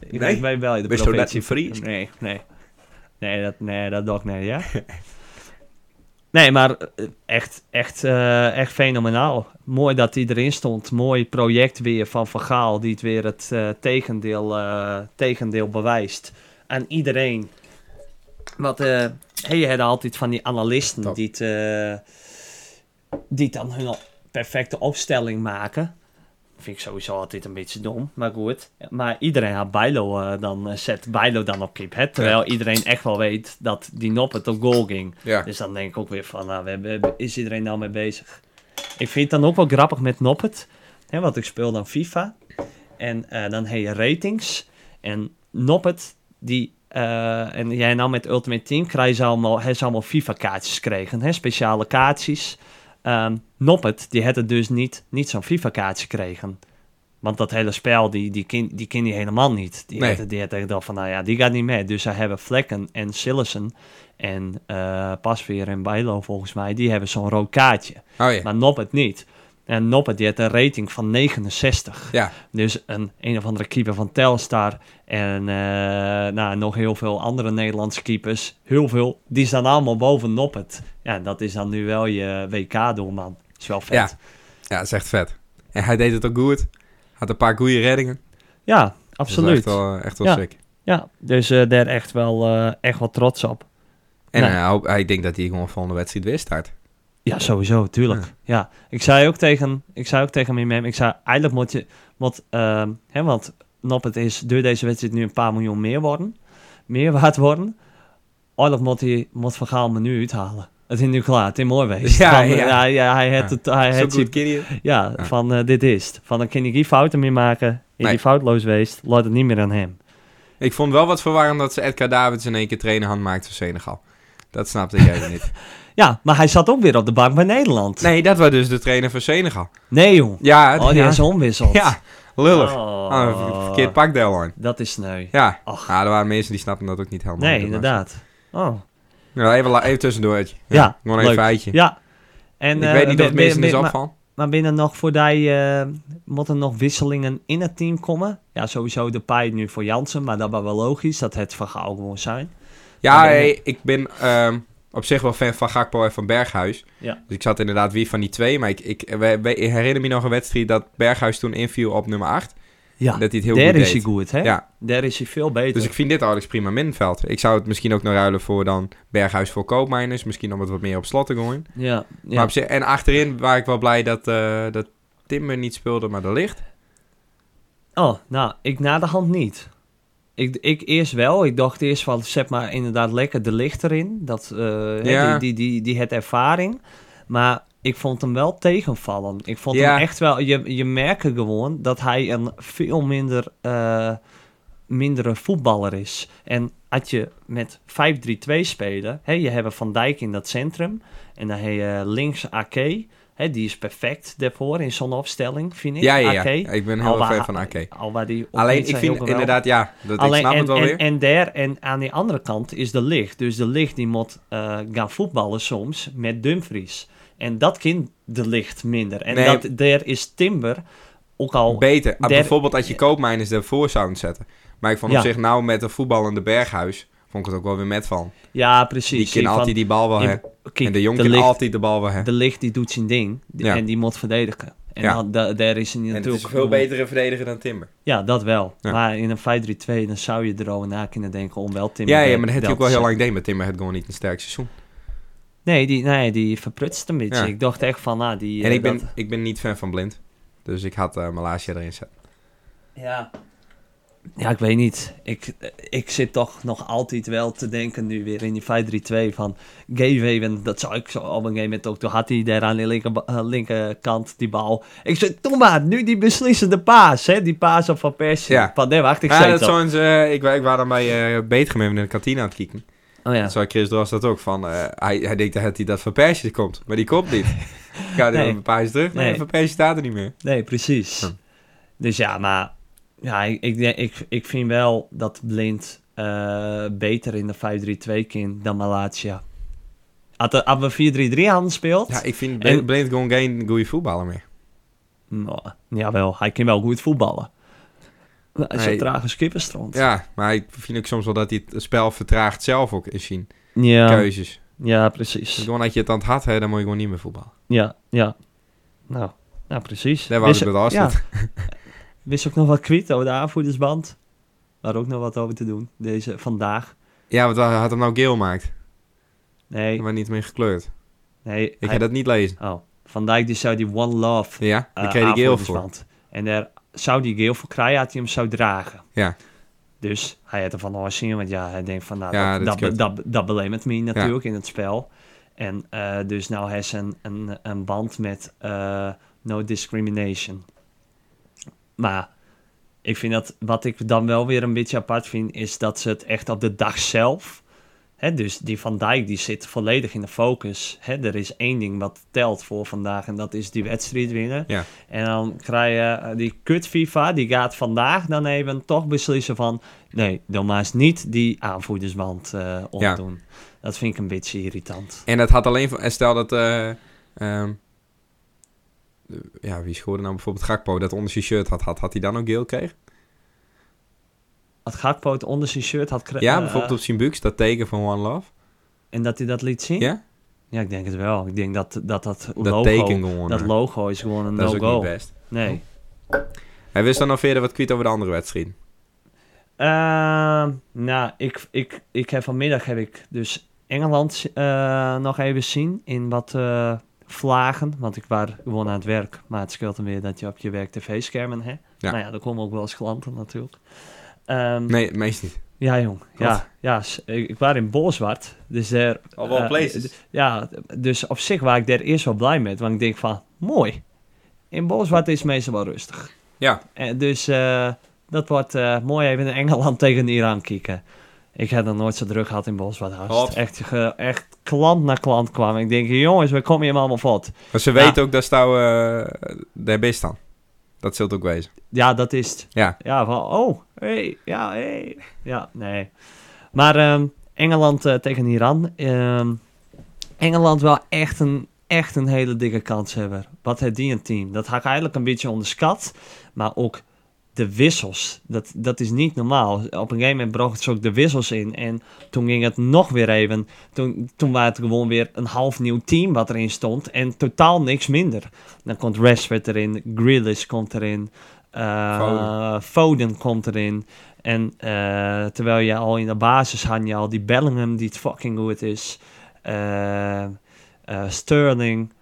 Speaker 2: Nee?
Speaker 1: nee? ben wel in de
Speaker 2: Wist je
Speaker 1: provincie.
Speaker 2: dat niet Fries?
Speaker 1: Nee, nee. Nee, dat, nee, dat doe ik niet, ja. [LAUGHS] nee, maar eh, echt, echt, eh, echt fenomenaal. Mooi dat hij erin stond. Mooi project weer van Van Gaal, die het weer het eh, tegendeel, eh, tegendeel bewijst. Aan iedereen. Want eh hey, je had altijd van die analisten
Speaker 2: Top.
Speaker 1: die, het, eh, die dan hun perfecte opstelling maken. Vind ik sowieso altijd een beetje dom, maar goed. Maar iedereen had Bijlo eh, dan, eh, zet Bijlo dan op kip. Hè? Terwijl iedereen echt wel weet dat die Noppen tot goal ging.
Speaker 2: Ja.
Speaker 1: Dus dan denk ik ook weer van, nou, we hebben- is iedereen nou mee bezig? Ik vind het dan ook wel grappig met Noppet. Hè, want ik speel dan FIFA. En eh, dan heb je ratings. En Noppet, die... eh, en jij nou met Ultimate Team krijgt ze allemaal, heeft ze allemaal FIFA-kaartjes gekregen. Hè? Speciale kaartjes. Ehm Noppet, die had het dus niet, niet zo'n FIFA-kaartje gekregen. Want dat hele spel, die, die, kin, die kin die helemaal niet. Die
Speaker 2: Nee.
Speaker 1: had, die had echt gedacht van, nou ja, die gaat niet mee. Dus zij hebben Vlekken en Sillessen en eh Pasveer en Bijlo volgens mij, die hebben zo'n rood kaartje.
Speaker 2: Oh ja.
Speaker 1: Maar Noppet niet. En Noppet die had een rating van 69.
Speaker 2: Ja,
Speaker 1: Dus een, een of andere keeper van Telstar en eh, nou, nog heel veel andere Nederlandse keepers. Heel veel. Die staan allemaal boven Noppet. Ja, en dat is dan nu wel je WK-doelman. Is wel vet.
Speaker 2: Ja. ja, dat is echt vet. En hij deed het ook goed. Had een paar goede reddingen.
Speaker 1: Ja,
Speaker 2: Dat is wel
Speaker 1: absoluut.
Speaker 2: Echt wel, eh, echt wel
Speaker 1: Ja.
Speaker 2: sick.
Speaker 1: Ja, dus eh, daar echt wel, eh, echt wel trots op.
Speaker 2: En
Speaker 1: Nee.
Speaker 2: hij hoop- ik denk dat hij gewoon volgende wedstrijd weer start.
Speaker 1: Ja, sowieso, tuurlijk. Ja. Ik zei ook tegen, ik zei ook tegen mijn mem, ik zei eigenlijk moet je, want, ehm hè, want Noppet is door deze wedstrijd nu een paar miljoen meer worden, meer waard worden. Eigenlijk moet hij, moet Van Gaal me nu uithalen. Het is nu klaar, het is mooi geweest.
Speaker 2: Ja,
Speaker 1: Van, eh,
Speaker 2: ja.
Speaker 1: hij- ja, hij heeft
Speaker 2: Ja.
Speaker 1: het, hij
Speaker 2: Zo
Speaker 1: heeft
Speaker 2: goed,
Speaker 1: het,
Speaker 2: Kirje.
Speaker 1: ja,
Speaker 2: Ja.
Speaker 1: van eh, dit is het. Van dan kan ik geen fouten meer maken, is
Speaker 2: Nee.
Speaker 1: die foutloos geweest, laat het niet meer aan hem.
Speaker 2: Ik vond wel wat verwarrend dat ze Edgar Davids in één keer trainer maakte voor Senegal. Dat snapte ik even niet.
Speaker 1: Ja, maar hij zat ook weer op de bank bij Nederland. Nee,
Speaker 2: Nee, dat was dus de trainer van Senegal.
Speaker 1: joh.
Speaker 2: Ja,
Speaker 1: Oh, die
Speaker 2: ja.
Speaker 1: is omwisseld.
Speaker 2: [LAUGHS] Ja, Lullig.
Speaker 1: Oh,
Speaker 2: Ah, een ver- verkeerd pakdeel aan.
Speaker 1: Dat is sneu.
Speaker 2: Ja.
Speaker 1: Och.
Speaker 2: Ah, er waren mensen die snapten dat ook niet helemaal.
Speaker 1: Nee,
Speaker 2: Dat was-
Speaker 1: inderdaad. Oh.
Speaker 2: Nou, even, la- even tussendoortje.
Speaker 1: Ja,
Speaker 2: Gewoon even
Speaker 1: leuk.
Speaker 2: feitje.
Speaker 1: Ja. En,
Speaker 2: ik
Speaker 1: eh,
Speaker 2: weet niet
Speaker 1: ben-
Speaker 2: of het mensen
Speaker 1: ben-
Speaker 2: is
Speaker 1: ben- maar-
Speaker 2: opvallen.
Speaker 1: Maar binnen nog voor die, eh moeten nog wisselingen in het team komen? Ja, sowieso de paai nu voor Jansen, maar dat was wel logisch dat het van Gaal gewoon zijn.
Speaker 2: Ja,
Speaker 1: maar ben-
Speaker 2: hey, ik ben ehm, op zich wel fan van Gakpo en van Berghuis.
Speaker 1: Ja.
Speaker 2: Dus ik zat inderdaad wie van die twee. Maar ik, ik, we- we- ik herinner me nog een wedstrijd dat Berghuis toen inviel op nummer 8.
Speaker 1: Ja,
Speaker 2: Dat hij het heel
Speaker 1: daar
Speaker 2: goed
Speaker 1: is hij
Speaker 2: deed.
Speaker 1: goed, hè?
Speaker 2: Ja.
Speaker 1: Daar is hij veel beter.
Speaker 2: Dus ik vind dit eigenlijk prima middenveld. Ik zou het misschien ook nog ruilen voor dan Berghuis voor Koopmijners. Misschien om het wat meer op slot te gooien.
Speaker 1: ja, ja.
Speaker 2: Maar op zich, en achterin waar ik wel blij dat, eh dat Timmer niet speelde, maar de licht.
Speaker 1: Oh, nou, ik na de hand niet. Ik, ik eerst wel. Ik dacht eerst van, zet maar inderdaad lekker de licht erin. Dat, eh, hè,
Speaker 2: Ja.
Speaker 1: die, die, die, die het ervaring. Maar ik vond hem wel tegenvallen. Ik vond
Speaker 2: Ja.
Speaker 1: hem echt wel... Je, je merkt gewoon dat hij een veel minder... eh, mindere voetballer is. En had je met 5-3-2 spelen... Hè, je hebt Van Dijk in dat centrum... en dan heb je links AK... Hè, die is perfect daarvoor in zo'n opstelling, vind ik.
Speaker 2: Ja, ja, ja.
Speaker 1: AK.
Speaker 2: Ik ben heel
Speaker 1: Alba-
Speaker 2: fan van Ake.
Speaker 1: Al waar die op
Speaker 2: Alleen,
Speaker 1: niet
Speaker 2: ik
Speaker 1: zo heel
Speaker 2: vind
Speaker 1: geweldig-
Speaker 2: inderdaad, ja, dat, ik
Speaker 1: Alleen,
Speaker 2: snap
Speaker 1: en,
Speaker 2: het wel
Speaker 1: en,
Speaker 2: weer.
Speaker 1: En daar, en aan die andere kant is de licht. Dus de licht die moet eh, gaan voetballen soms met Dumfries. En dat kind de licht minder. En
Speaker 2: Nee.
Speaker 1: dat, daar is Timber ook al...
Speaker 2: Beter. Ah,
Speaker 1: der-
Speaker 2: bijvoorbeeld dat je koopmijners ervoor zouden zetten. Maar ik vond op
Speaker 1: Ja.
Speaker 2: zich nou met een voetballende Berghuis, vond ik het ook wel weer met van.
Speaker 1: ja, precies.
Speaker 2: Die kan
Speaker 1: van-
Speaker 2: altijd die bal wel
Speaker 1: in-
Speaker 2: hebben.
Speaker 1: kijk,
Speaker 2: En de jong
Speaker 1: de
Speaker 2: kan
Speaker 1: licht,
Speaker 2: altijd de bal wel hebben.
Speaker 1: De licht die doet zijn ding. Die-
Speaker 2: Ja.
Speaker 1: En die moet verdedigen. En
Speaker 2: Ja.
Speaker 1: dan, da- daar is hij
Speaker 2: En
Speaker 1: natuurlijk...
Speaker 2: het is een veel betere verdediger dan Timber.
Speaker 1: Ja, dat wel.
Speaker 2: Ja.
Speaker 1: Maar in een 5-3-2 dan zou je erover na kunnen denken om wel Timber...
Speaker 2: Ja, ja,
Speaker 1: daar-
Speaker 2: maar dat heb je
Speaker 1: dat
Speaker 2: ook wel
Speaker 1: te
Speaker 2: heel
Speaker 1: zetten.
Speaker 2: lang deed. Maar Timber had gewoon niet een sterk seizoen.
Speaker 1: Nee, die, nee, die verprutst een beetje.
Speaker 2: Ja.
Speaker 1: Ik dacht echt van, nou, die...
Speaker 2: en
Speaker 1: eh,
Speaker 2: ik ben,
Speaker 1: dat-
Speaker 2: ik ben niet fan van Blind. Dus ik had eh Malasia erin zetten.
Speaker 1: Ja. Ja, ik weet niet. Ik, ik zit toch nog altijd wel te denken nu weer in die 5-3-2 van Gavehaven. Dat zou ik zo op een gegeven moment ook. Toen had hij daar aan de linker, eh, linkerkant die bal. Ik zei, doe maar, nu die beslissende paas. Hè? Die paas op Van Persie.
Speaker 2: Ja.
Speaker 1: Van, nee, wacht, ik
Speaker 2: Ja,
Speaker 1: zei
Speaker 2: dat
Speaker 1: het al.
Speaker 2: zo'n, eh, ik, wa- ik was dan bij eh Beetgemeven in de kantine aan het kijken.
Speaker 1: Oh ja.
Speaker 2: Dat zei Chris Dros dat ook. Van, eh, hij, hij denkt dat hij dat van Persie komt. Maar die komt [LAUGHS] niet. Ik ga
Speaker 1: Nee.
Speaker 2: een paar eens terug. Nee,
Speaker 1: Nee.
Speaker 2: van Persie staat er niet meer.
Speaker 1: Nee, precies.
Speaker 2: Hm.
Speaker 1: Dus ja, maar ja, ik, ik, denk- ik, ik vind wel dat Blind eh, beter in de 5-3-2 kan dan Malatia. Had de- Als we 4-3-3 aan speelt...
Speaker 2: Ja, ik vind
Speaker 1: En-
Speaker 2: Blind gewoon geen goede voetballer meer.
Speaker 1: Nou, jawel, hij kan wel goed voetballen. Hij is
Speaker 2: Nee.
Speaker 1: een trage skipperstrand.
Speaker 2: Ja, maar ik vind ook soms wel dat hij het spel vertraagt zelf ook in zien.
Speaker 1: ja,
Speaker 2: Keuzes.
Speaker 1: ja,
Speaker 2: Dus
Speaker 1: precies.
Speaker 2: gewoon dat je het aan het had, hè, dan moet je gewoon niet meer voetballen.
Speaker 1: Ja, ja. Nou, nou precies.
Speaker 2: Daar was
Speaker 1: Wist-
Speaker 2: ik met Arsenal.
Speaker 1: Wist ook nog wat kwiet over de aanvoerdersband. Daar ook nog wat over te doen, deze vandaag.
Speaker 2: Ja, want hij had hem nou geel gemaakt.
Speaker 1: Nee,
Speaker 2: Maar niet meer gekleurd.
Speaker 1: nee.
Speaker 2: Ik
Speaker 1: hij-
Speaker 2: ga dat niet lezen.
Speaker 1: Oh, Van Dijk die zou die One Love
Speaker 2: Ja,
Speaker 1: eh,
Speaker 2: daar kreeg hij geel voor.
Speaker 1: aanvoerdersband. En daar zou die geel voor krijgen, had hij hem zou dragen.
Speaker 2: Ja.
Speaker 1: Dus hij had er van alles zien, want ja, hij denkt van, nou,
Speaker 2: Ja,
Speaker 1: dat,
Speaker 2: dat
Speaker 1: dat,
Speaker 2: is
Speaker 1: be-
Speaker 2: kut.
Speaker 1: dat, dat belemmert me natuurlijk in het spel. En eh, dus nou heeft ze een, een, een band met eh, no discrimination. Maar ik vind dat, wat ik dan wel weer een beetje apart vind, is dat ze het echt op de dag zelf... Hè, dus die Van Dijk die zit volledig in de focus. Hè, er is één ding wat telt voor vandaag en dat is die wedstrijd winnen.
Speaker 2: Ja.
Speaker 1: En dan krijg je eh, die kut FIFA, die gaat vandaag dan even toch beslissen van... Nee, dan maar eens niet die aanvoerdersband eh opdoen. Dat vind ik een beetje irritant.
Speaker 2: En dat had alleen van... En stel dat... eh, ehm, de- ja, wie schoorde nou bijvoorbeeld Gakpo dat onder zijn shirt had, had, had hij dan ook geel kreeg?
Speaker 1: Had Gakpo het onder zijn shirt had... kre-
Speaker 2: Ja,
Speaker 1: eh,
Speaker 2: bijvoorbeeld op zijn buks, dat teken van One Love.
Speaker 1: En dat hij dat liet zien?
Speaker 2: Ja?
Speaker 1: Ja, ik denk het wel. Ik denk dat dat, dat,
Speaker 2: Dat
Speaker 1: Hm? logo...
Speaker 2: teken gewoon.
Speaker 1: dat
Speaker 2: eh,
Speaker 1: logo is gewoon een
Speaker 2: dat is ook niet
Speaker 1: no-go.
Speaker 2: best.
Speaker 1: Nee.
Speaker 2: Hij wist dan nog verder wat kwiet over de andere wedstrijd.
Speaker 1: Hm. Ehm, nou, ik, ik, ik heb vanmiddag heb ik dus Engeland eh, nog even zien in wat eh, vlagen. Want ik was gewoon aan het werk. Maar het scheelt dan weer dat je op je werk tv-schermen hebt.
Speaker 2: Ja.
Speaker 1: Nou ja, er komen ook wel eens klanten natuurlijk. Ehm,
Speaker 2: Nee, meest niet.
Speaker 1: Ja, jong. Ja, ja, s- ik, ik was in Bolzwart. Dus daar...
Speaker 2: Al wel
Speaker 1: eh,
Speaker 2: places.
Speaker 1: d- ja, dus op zich was ik daar eerst wel blij mee. Want ik denk van, mooi. In Bolzwart is het meestal wel rustig.
Speaker 2: Ja.
Speaker 1: En dus eh, dat wordt eh, mooi even in Engeland [LAUGHS] tegen Iran kieken. Ik heb nog nooit zo druk gehad in Bolzwart.
Speaker 2: Hop.
Speaker 1: Echt, ge- echt klant naar klant kwam. Ik denk, jongens, we komen hier allemaal vot.
Speaker 2: Maar ze
Speaker 1: Ja.
Speaker 2: weten ook dat ze nou, eh, daar best dan. Dat zult ook wezen.
Speaker 1: Ja, dat is het.
Speaker 2: Ja.
Speaker 1: Ja, van, oh, hey, ja, hey. Ja, nee. Maar ehm, Engeland eh, tegen Iran. Ehm, Engeland wel echt een, echt een hele dikke kans hebben. Wat het die een team. Dat had ik eigenlijk een beetje onderschat. Maar ook de wissels. Dat, dat is niet normaal. Op een gegeven moment brachten ze ook de wissels in. En toen ging het nog weer even. Toen, toen was het gewoon weer een half nieuw team wat erin stond. En totaal niks minder. Dan komt Rashford erin. Grealish komt erin. eh,
Speaker 2: Foden.
Speaker 1: Foden komt erin. En eh, terwijl je al in de basis had je al die Bellingham die het fucking goed is. Eh, eh, Sterling.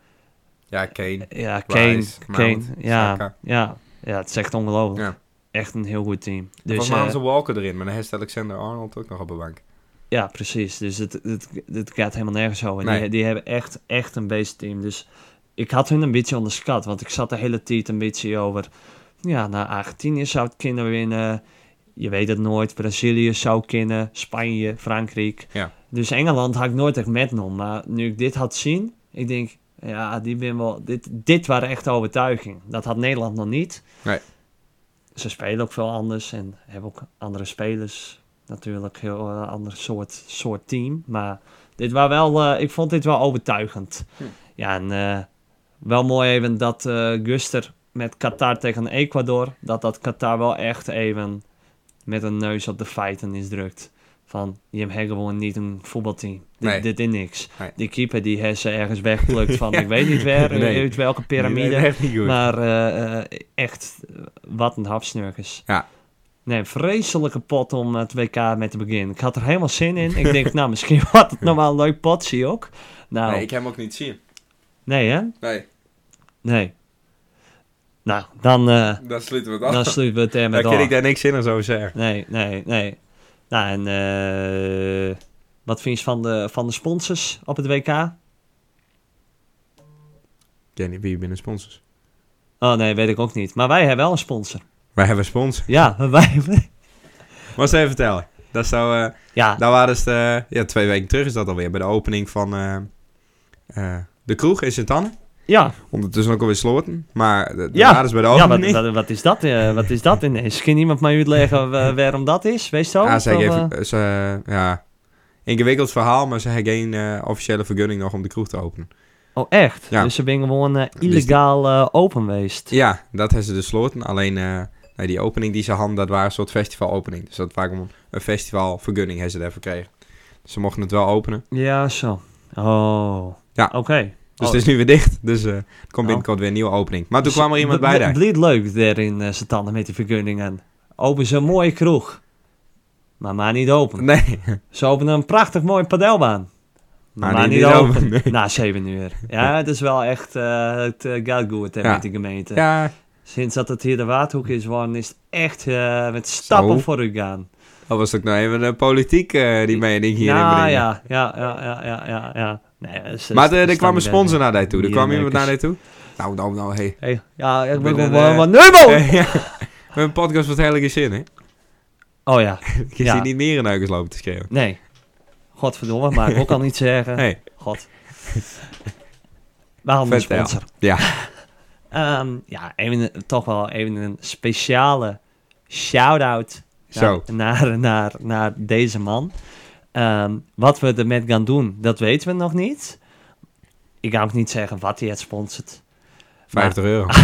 Speaker 2: Ja, Kane.
Speaker 1: Ja, Kane.
Speaker 2: Rice,
Speaker 1: Kane.
Speaker 2: Mount,
Speaker 1: ja,
Speaker 2: Saka.
Speaker 1: ja, ja, het is echt ongelooflijk.
Speaker 2: Ja.
Speaker 1: Echt een heel goed team.
Speaker 2: Dus,
Speaker 1: Dus,
Speaker 2: Volgens mij
Speaker 1: eh,
Speaker 2: hadden ze Walker erin, maar dan heeft Alexander Arnold ook nog op de bank.
Speaker 1: ja, precies. Dus het, het, het gaat helemaal nergens over.
Speaker 2: Nee.
Speaker 1: Die, die hebben echt, echt een beestteam. Dus ik had hun een beetje onderschat. Want ik zat de hele tijd een beetje over... Ja, nou, Argentinië zou het kunnen winnen. Je weet het nooit. Brazilië zou kunnen. Spanje, Frankrijk.
Speaker 2: Ja.
Speaker 1: Dus Engeland had ik nooit echt metnom. Maar nu ik dit had zien, ik denk... Ja, die ben wel... Dit, dit waren echt overtuiging. Dat had Nederland nog niet.
Speaker 2: Nee.
Speaker 1: Ze spelen ook veel anders en hebben ook andere spelers natuurlijk heel eh, ander soort, soort team. Maar dit was wel, eh, ik vond dit wel overtuigend.
Speaker 2: Hm.
Speaker 1: Ja, en eh, wel mooi even dat eh, Guster met Qatar tegen Ecuador, dat dat Qatar wel echt even met een neus op de feiten is drukt. Van, je hebt hier gewoon niet een voetbalteam. Dit,
Speaker 2: Nee.
Speaker 1: dit is niks.
Speaker 2: Nee.
Speaker 1: Die keeper die heeft ze ergens wegplukt
Speaker 2: [LAUGHS]
Speaker 1: van, ik weet niet waar, eh,
Speaker 2: Nee.
Speaker 1: uit welke piramide.
Speaker 2: Nee, echt niet goed.
Speaker 1: Maar eh, eh, echt, eh, wat een hapsnurkers.
Speaker 2: Ja.
Speaker 1: Nee, vreselijke pot om het WK mee te beginnen. Ik had er helemaal zin
Speaker 2: [LAUGHS]
Speaker 1: in. Ik denk, nou, misschien [LAUGHS] wordt het nog wel een leuk potje ook. Nou,
Speaker 2: Nee,
Speaker 1: nee,
Speaker 2: ik heb hem ook niet zien.
Speaker 1: hè?
Speaker 2: Nee,
Speaker 1: Nee. Nou, dan, eh,
Speaker 2: dan sluiten we het
Speaker 1: dan
Speaker 2: af.
Speaker 1: sluiten
Speaker 2: [LAUGHS]
Speaker 1: we het ermee
Speaker 2: Dan kan ik
Speaker 1: af.
Speaker 2: daar niks in of zo zeggen.
Speaker 1: Nee, nee, nee. Nou, en eh, wat vind je van de, van de sponsors op het WK?
Speaker 2: Jenny, wie binnen sponsors?
Speaker 1: Oh nee, weet ik ook niet. Maar wij hebben wel een sponsor.
Speaker 2: Wij hebben sponsors.
Speaker 1: Ja, [LAUGHS] wij...
Speaker 2: Wat zou je vertellen? Dat zou... eh,
Speaker 1: Ja,
Speaker 2: Daar waren ze, eh, ja, twee weken terug is dat alweer, bij de opening van eh, eh, de kroeg in Sint-Anne.
Speaker 1: ja.
Speaker 2: Ondertussen ook alweer sloten, maar de, de
Speaker 1: Ja.
Speaker 2: waren ze bij de
Speaker 1: Ja, wat,
Speaker 2: opening.
Speaker 1: wat, wat is dat? eh, wat is dat ineens? Kan iemand mij uitleggen wa- waarom dat is? Wees zo.
Speaker 2: Ah, ze geven- ze, eh, ja, ingewikkeld verhaal, maar ze hebben geen eh, officiële vergunning nog om de kroeg te openen.
Speaker 1: Oh, echt?
Speaker 2: Ja.
Speaker 1: Dus ze zijn gewoon eh,
Speaker 2: die-
Speaker 1: illegaal eh, open geweest.
Speaker 2: Ja, dat hebben ze dus sloten, alleen eh, nee, die opening die ze hadden, dat waren een soort festivalopening. Dus dat waren om een festivalvergunning hebben ze daarvoor gekregen. Dus ze mochten het wel openen.
Speaker 1: Ja, zo. Oh.
Speaker 2: Ja.
Speaker 1: Oké.
Speaker 2: Dus
Speaker 1: Oh.
Speaker 2: het is nu weer dicht, dus eh, er komt
Speaker 1: Oh.
Speaker 2: binnenkort weer een nieuwe opening. Maar toen
Speaker 1: Dus
Speaker 2: kwam er iemand
Speaker 1: het
Speaker 2: bij
Speaker 1: bl-
Speaker 2: daar.
Speaker 1: bleef leuk daar in eh, zijn tanden met die vergunningen. Open ze een mooie kroeg. Maar maar niet open.
Speaker 2: Nee,
Speaker 1: Ze openen een prachtig mooie padelbaan. Maar, maar niet, open. Na zeven uur. Ja, het is wel echt... eh het eh, gaat goed hè,
Speaker 2: Ja.
Speaker 1: met de gemeente.
Speaker 2: Ja,
Speaker 1: Sinds dat het hier de Waardhoek is geworden, is het echt eh, met stappen
Speaker 2: Zo.
Speaker 1: vooruit gaan.
Speaker 2: Dat was ook nou even de politiek eh, die mening hierin
Speaker 1: ja,
Speaker 2: brengen.
Speaker 1: Nou ja, ja, ja, ja, ja, ja, ja. Nee, dat is-
Speaker 2: Maar eh,
Speaker 1: dat
Speaker 2: er, er
Speaker 1: is
Speaker 2: kwam
Speaker 1: dan
Speaker 2: een sponsor naar daar toe. Er
Speaker 1: Die
Speaker 2: kwam iemand naar
Speaker 1: merkers.
Speaker 2: daar toe. Nou, nou, nou, hé.
Speaker 1: Hey, ja, ik ben
Speaker 2: Binnen
Speaker 1: gewoon
Speaker 2: de-
Speaker 1: van Neubo!
Speaker 2: Eh, [LAUGHS] ja. We hebben een podcast wat helemaal geen zin, hè? [LAUGHS]
Speaker 1: Oh ja,
Speaker 2: Je ziet
Speaker 1: Ja.
Speaker 2: niet meer in neukers lopen te schreeuwen.
Speaker 1: nee. Godverdomme, maar ik ook al niet zeggen.
Speaker 2: Nee.
Speaker 1: God. We hadden een
Speaker 2: Vertel.
Speaker 1: sponsor.
Speaker 2: Ja.
Speaker 1: Ehm, ja, even, een- toch wel even een speciale shout-out
Speaker 2: Zo.
Speaker 1: Naar, naar, naar, naar deze man. Ehm, wat we ermee gaan doen, dat weten we nog niet. Ik ga ook niet zeggen wat hij het sponsort.
Speaker 2: 50 euro.
Speaker 1: [LAUGHS]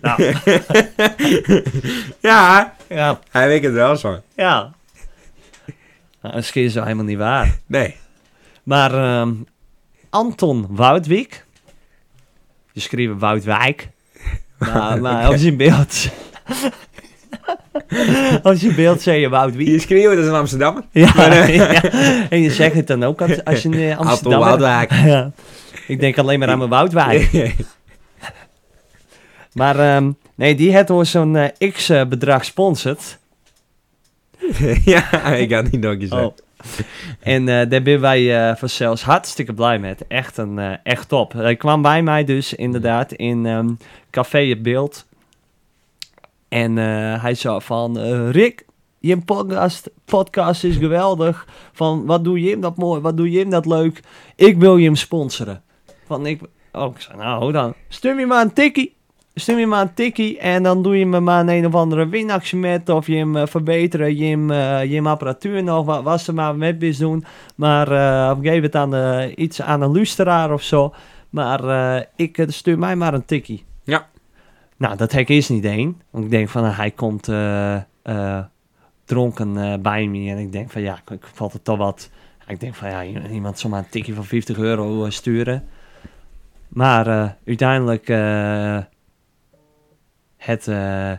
Speaker 1: Nou,
Speaker 2: [LAUGHS] ja,
Speaker 1: ja,
Speaker 2: hij weet het wel zo.
Speaker 1: ja. Nou, misschien is het wel helemaal niet waar.
Speaker 2: Nee.
Speaker 1: Maar ehm, Anton Woudwijk. Je schreef Woudwijk. Maar, maar als je in beeld... [LAUGHS] als je in beeld zei je Woudwijk.
Speaker 2: Je schreeuwen, dat is een Amsterdammer.
Speaker 1: Ja, [LAUGHS] ja. En je zegt het dan ook als, als je in eh, Amsterdam...
Speaker 2: Appel, Woudwijk.
Speaker 1: Ja. [LAUGHS] Ik denk alleen maar aan mijn Woudwijk. Maar ehm, nee, die had door zo'n eh, x-bedrag sponsord.
Speaker 2: [LAUGHS] ja, ik ga het niet nog Nou, eens zeggen.
Speaker 1: Oh. [LAUGHS] En eh, daar ben wij eh vanzelfs hartstikke blij met. Echt, een, eh, echt top. Hij kwam bij mij dus inderdaad in ehm, Café Het Beeld. En eh, hij zei van... eh, Rick, je podcast, podcast is geweldig. Van, wat doe je hem dat mooi, wat doe je hem dat leuk. Ik wil je hem sponsoren. Want ik... Oh, ik zei, nou, hoe dan? Stuur me maar een tikkie. Stuur me maar een tikkie en dan doe je me maar een, een of andere winactie met. Of je hem eh, verbeteren, je hem, eh, je hem apparatuur nog, wat, wat ze maar met bis doen. Maar eh, of geef het aan eh, iets aan een luisteraar of zo. Maar eh, ik eh, stuur mij maar een tikkie.
Speaker 2: Ja.
Speaker 1: Nou, dat hek is niet één. Want ik denk van, nou, hij komt eh, eh, dronken eh, bij me. En ik denk van, ja, ik, ik valt het toch wat... Ik denk van, ja, iemand zomaar een tikkie van 50 euro eh, sturen. Maar eh, uiteindelijk eh, het eh,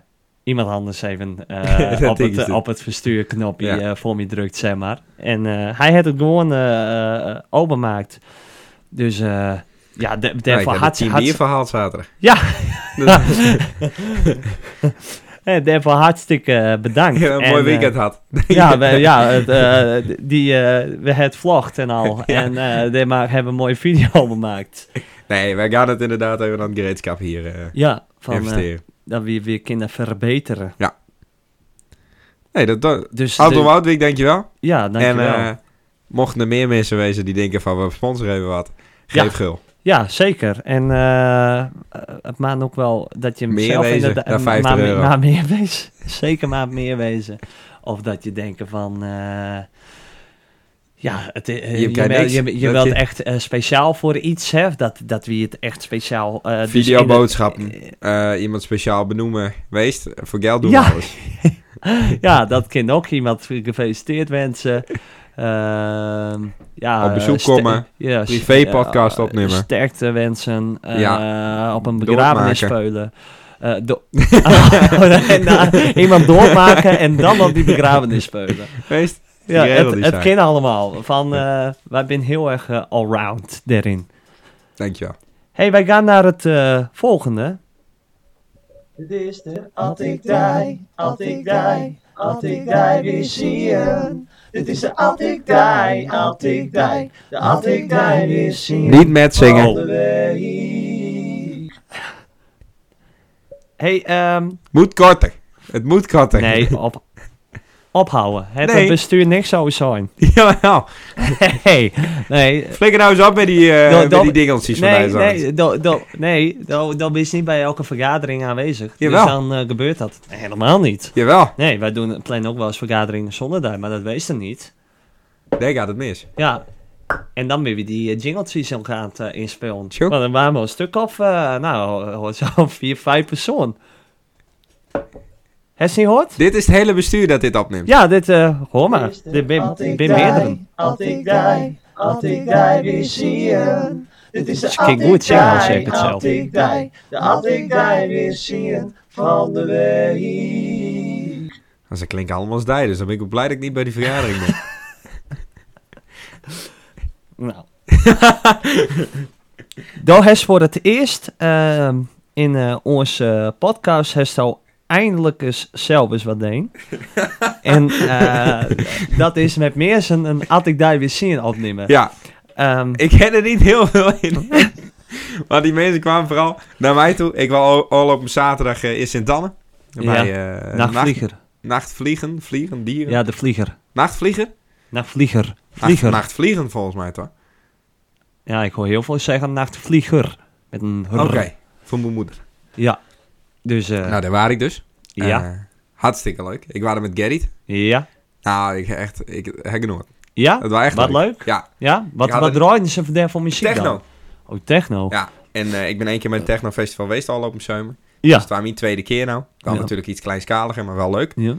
Speaker 1: iemand anders even eh,
Speaker 2: [LAUGHS] Dat
Speaker 1: op,
Speaker 2: ding
Speaker 1: het,
Speaker 2: is het.
Speaker 1: op het verstuurknopje
Speaker 2: Ja.
Speaker 1: eh voor me drukt, zeg maar. En eh, hij had het gewoon eh, eh, openmaakt. Dus eh, ja, de-
Speaker 2: Nou,
Speaker 1: daarvoor
Speaker 2: ik heb
Speaker 1: had ze...
Speaker 2: het
Speaker 1: had
Speaker 2: hier
Speaker 1: ze-
Speaker 2: verhaald zaterdag.
Speaker 1: Ja.
Speaker 2: Dat-
Speaker 1: eh, daarvoor hartstikke eh, bedankt.
Speaker 2: [LAUGHS] ja, een
Speaker 1: En,
Speaker 2: mooi
Speaker 1: eh,
Speaker 2: weekend had.
Speaker 1: ja, we, ja het, eh, die, eh, we het vlogt en al.
Speaker 2: [LAUGHS] Ja.
Speaker 1: En eh daar ma- hebben we een mooie video [LAUGHS] gemaakt.
Speaker 2: Nee, wij gaan het inderdaad even aan het gereedschap hier eh
Speaker 1: Ja, van eh,
Speaker 2: investeren.
Speaker 1: dat we weer kunnen verbeteren.
Speaker 2: Nee, dat... dat
Speaker 1: Dus
Speaker 2: Auto
Speaker 1: de-
Speaker 2: Woudwijk, dankjewel.
Speaker 1: ja,
Speaker 2: En
Speaker 1: dankjewel.
Speaker 2: eh, mochten er meer mensen wezen die denken van we sponsoren even wat, geef
Speaker 1: Ja.
Speaker 2: gul.
Speaker 1: Ja, zeker. En eh, eh, het maakt ook wel dat je hem
Speaker 2: Meer
Speaker 1: zelf
Speaker 2: wezen
Speaker 1: inderdaad...
Speaker 2: dan
Speaker 1: eh,
Speaker 2: 50
Speaker 1: maar,
Speaker 2: euro.
Speaker 1: maar meer [LAUGHS] wezen. Zeker maar meer wezen. Of dat je denken van... eh, ja, het, eh,
Speaker 2: Je
Speaker 1: je,
Speaker 2: krijgt
Speaker 1: wil-
Speaker 2: niks.
Speaker 1: je, je
Speaker 2: Dat
Speaker 1: wilt
Speaker 2: je-
Speaker 1: echt eh, speciaal voor iets, hè? Dat, dat we het echt speciaal... eh, dus
Speaker 2: Videoboodschappen.
Speaker 1: in het-
Speaker 2: Eh, iemand speciaal benoemen, weest, voor geld doen
Speaker 1: Ja. [LAUGHS]
Speaker 2: we alles.
Speaker 1: ja, dat kind ook iemand gefeliciteerd wensen. Ehm, ja,
Speaker 2: Op bezoek
Speaker 1: eh, ste-
Speaker 2: komen.
Speaker 1: Ja, s-
Speaker 2: Privé-podcast
Speaker 1: ja,
Speaker 2: opnemen.
Speaker 1: Sterkte wensen. eh, op een
Speaker 2: Doormaken.
Speaker 1: begrafenis spelen. Eh,
Speaker 2: [LAUGHS]
Speaker 1: do- [LAUGHS] en, dan Oh, nou, iemand doormaken en dan op die begrafenis spelen.
Speaker 2: Weest,
Speaker 1: Ja,
Speaker 2: [LAUGHS] Die regel
Speaker 1: het,
Speaker 2: die
Speaker 1: het
Speaker 2: zijn.
Speaker 1: kind allemaal. Van, eh, wij zijn heel erg eh, allround daarin.
Speaker 2: dankjewel.
Speaker 1: hey, wij gaan naar het eh, volgende.
Speaker 4: Dit is de At ik die, At ik die, At ik die weer zien. Dit is de At ik die, At ik die, de At ik die weer zien.
Speaker 2: Niet met zingen.
Speaker 1: Oh. hey, ehm,
Speaker 2: Moet korter. Het moet korter.
Speaker 1: Nee, op, ophouden. Het
Speaker 2: Nee.
Speaker 1: bestuur niks zou zijn.
Speaker 2: [LAUGHS] ja, nou,
Speaker 1: Nee, nee.
Speaker 2: flikker nou eens op met die, eh
Speaker 1: Dat-
Speaker 2: met
Speaker 1: dat-
Speaker 2: die dingeltjes van
Speaker 1: Nee,
Speaker 2: mij. zo.
Speaker 1: nee, do, do, nee do, do is niet bij elke vergadering aanwezig.
Speaker 2: Jawel.
Speaker 1: Dus dan eh, gebeurt dat helemaal niet.
Speaker 2: Jawel,
Speaker 1: Nee, wij doen, plannen ook wel eens vergaderingen zonder daar, maar dat wees er niet.
Speaker 2: daar gaat het mis.
Speaker 1: Ja, en dan weer die eh, jingletjes om gaan te inspelen.
Speaker 2: Tjoe.
Speaker 1: Want dan waren we een stuk of, eh, nou, eh, zo'n [LAUGHS] vier, vijf persoon. Heb je niet gehoord?
Speaker 2: Dit is het hele bestuur dat dit opneemt.
Speaker 1: Ja, dit, eh, hoor maar. Dit ben
Speaker 4: At ik
Speaker 1: ben meerdere.
Speaker 4: die, At ik die, At ik die weer zien. Dit is de
Speaker 1: Ze
Speaker 4: At
Speaker 1: klinkt
Speaker 4: ik
Speaker 1: goed zingen als ik
Speaker 4: die,
Speaker 1: het
Speaker 4: At
Speaker 1: zelf.
Speaker 4: ik die, de At ik die weer zien van de week.
Speaker 2: Maar Ze klinken allemaal als die, dus dan ben ik ook blij dat ik niet bij
Speaker 1: [LAUGHS]
Speaker 2: die vergadering ben.
Speaker 1: Nou. Dan heeft voor het eerst ehm, in eh, onze podcast heeft al eindelijk eens zelf eens wat
Speaker 2: [LAUGHS]
Speaker 1: deen. en eh, dat is met meer zijn een At ik daar weer zien opnemen.
Speaker 2: Ja,
Speaker 1: Ehm,
Speaker 2: ik ken er niet heel veel in. [LAUGHS] maar die mensen kwamen vooral naar mij toe. Ik was al, al op een zaterdag eh, in Sint-Anne. Bij, eh,
Speaker 1: nachtvlieger.
Speaker 2: nachtvliegen, vliegen, dieren.
Speaker 1: Ja, de vlieger.
Speaker 2: Nachtvliegen?
Speaker 1: Nachtvlieger.
Speaker 2: Nacht-
Speaker 1: Vlieger.
Speaker 2: nachtvliegen volgens mij toch?
Speaker 1: Ja, ik hoor heel veel zeggen nachtvlieger. Met een r.
Speaker 2: Oké, voor mijn moeder.
Speaker 1: Ja. Dus eh,
Speaker 2: Nou, daar waar ik dus.
Speaker 1: ja.
Speaker 2: Eh, hartstikke leuk. Ik was er met Gerrit.
Speaker 1: ja.
Speaker 2: Nou, ik echt, ik heb genoten.
Speaker 1: Ja?
Speaker 2: Het was echt
Speaker 1: Wat
Speaker 2: leuk.
Speaker 1: leuk.
Speaker 2: Ja,
Speaker 1: Ja? Wat,
Speaker 2: Ja,
Speaker 1: wat
Speaker 2: dat-
Speaker 1: draaiden ze vandaag voor muziek
Speaker 2: techno.
Speaker 1: dan? Oh, techno.
Speaker 2: Ja, en eh, ik ben één keer met het Techno Festival geweest al op een zomer. Dus
Speaker 1: ja.
Speaker 2: het was mijn tweede keer nou. Dan
Speaker 1: Ja.
Speaker 2: natuurlijk iets kleinskaliger, maar wel leuk.
Speaker 1: Ja.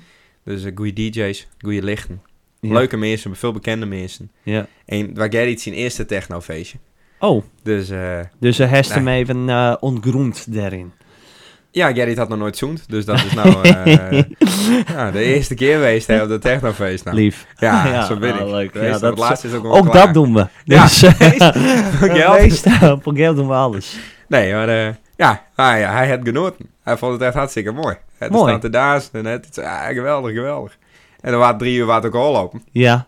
Speaker 2: Dus eh goede DJ's, goede lichten.
Speaker 1: Ja.
Speaker 2: Leuke mensen, veel bekende mensen.
Speaker 1: Ja.
Speaker 2: En waar Gerrit zijn eerste technofeestje.
Speaker 1: Oh,
Speaker 2: Dus eh,
Speaker 1: dus hij heeft
Speaker 2: Nee.
Speaker 1: hem even eh ontgroend daarin.
Speaker 2: ja, Gerrit had nog nooit zoend. Dus dat is nou eh,
Speaker 1: [LAUGHS]
Speaker 2: ja, de eerste keer geweest hè, op dat technofeest nou.
Speaker 1: Lief. [LAUGHS]
Speaker 2: Ja,
Speaker 1: Ja,
Speaker 2: zo ben ik.
Speaker 1: ah, leuk.
Speaker 2: Wees,
Speaker 1: Ja,
Speaker 2: dat
Speaker 1: dat
Speaker 2: het
Speaker 1: is-
Speaker 2: laatste is ook, wel
Speaker 1: Ook
Speaker 2: klaar.
Speaker 1: dat
Speaker 2: [LAUGHS]
Speaker 1: doen we.
Speaker 2: Ja,
Speaker 1: Dus,
Speaker 2: [LAUGHS] Voor
Speaker 1: eh, [LAUGHS]
Speaker 2: geld.
Speaker 1: meestal, voor geld doen we alles.
Speaker 2: Nee, maar eh, ja, hij, hij had genoten. Hij vond het echt hartstikke mooi. Het
Speaker 1: Mooi.
Speaker 2: staat te dansen en het is ah, geweldig, geweldig. En dan waren drie uur water kool open.
Speaker 1: Ja.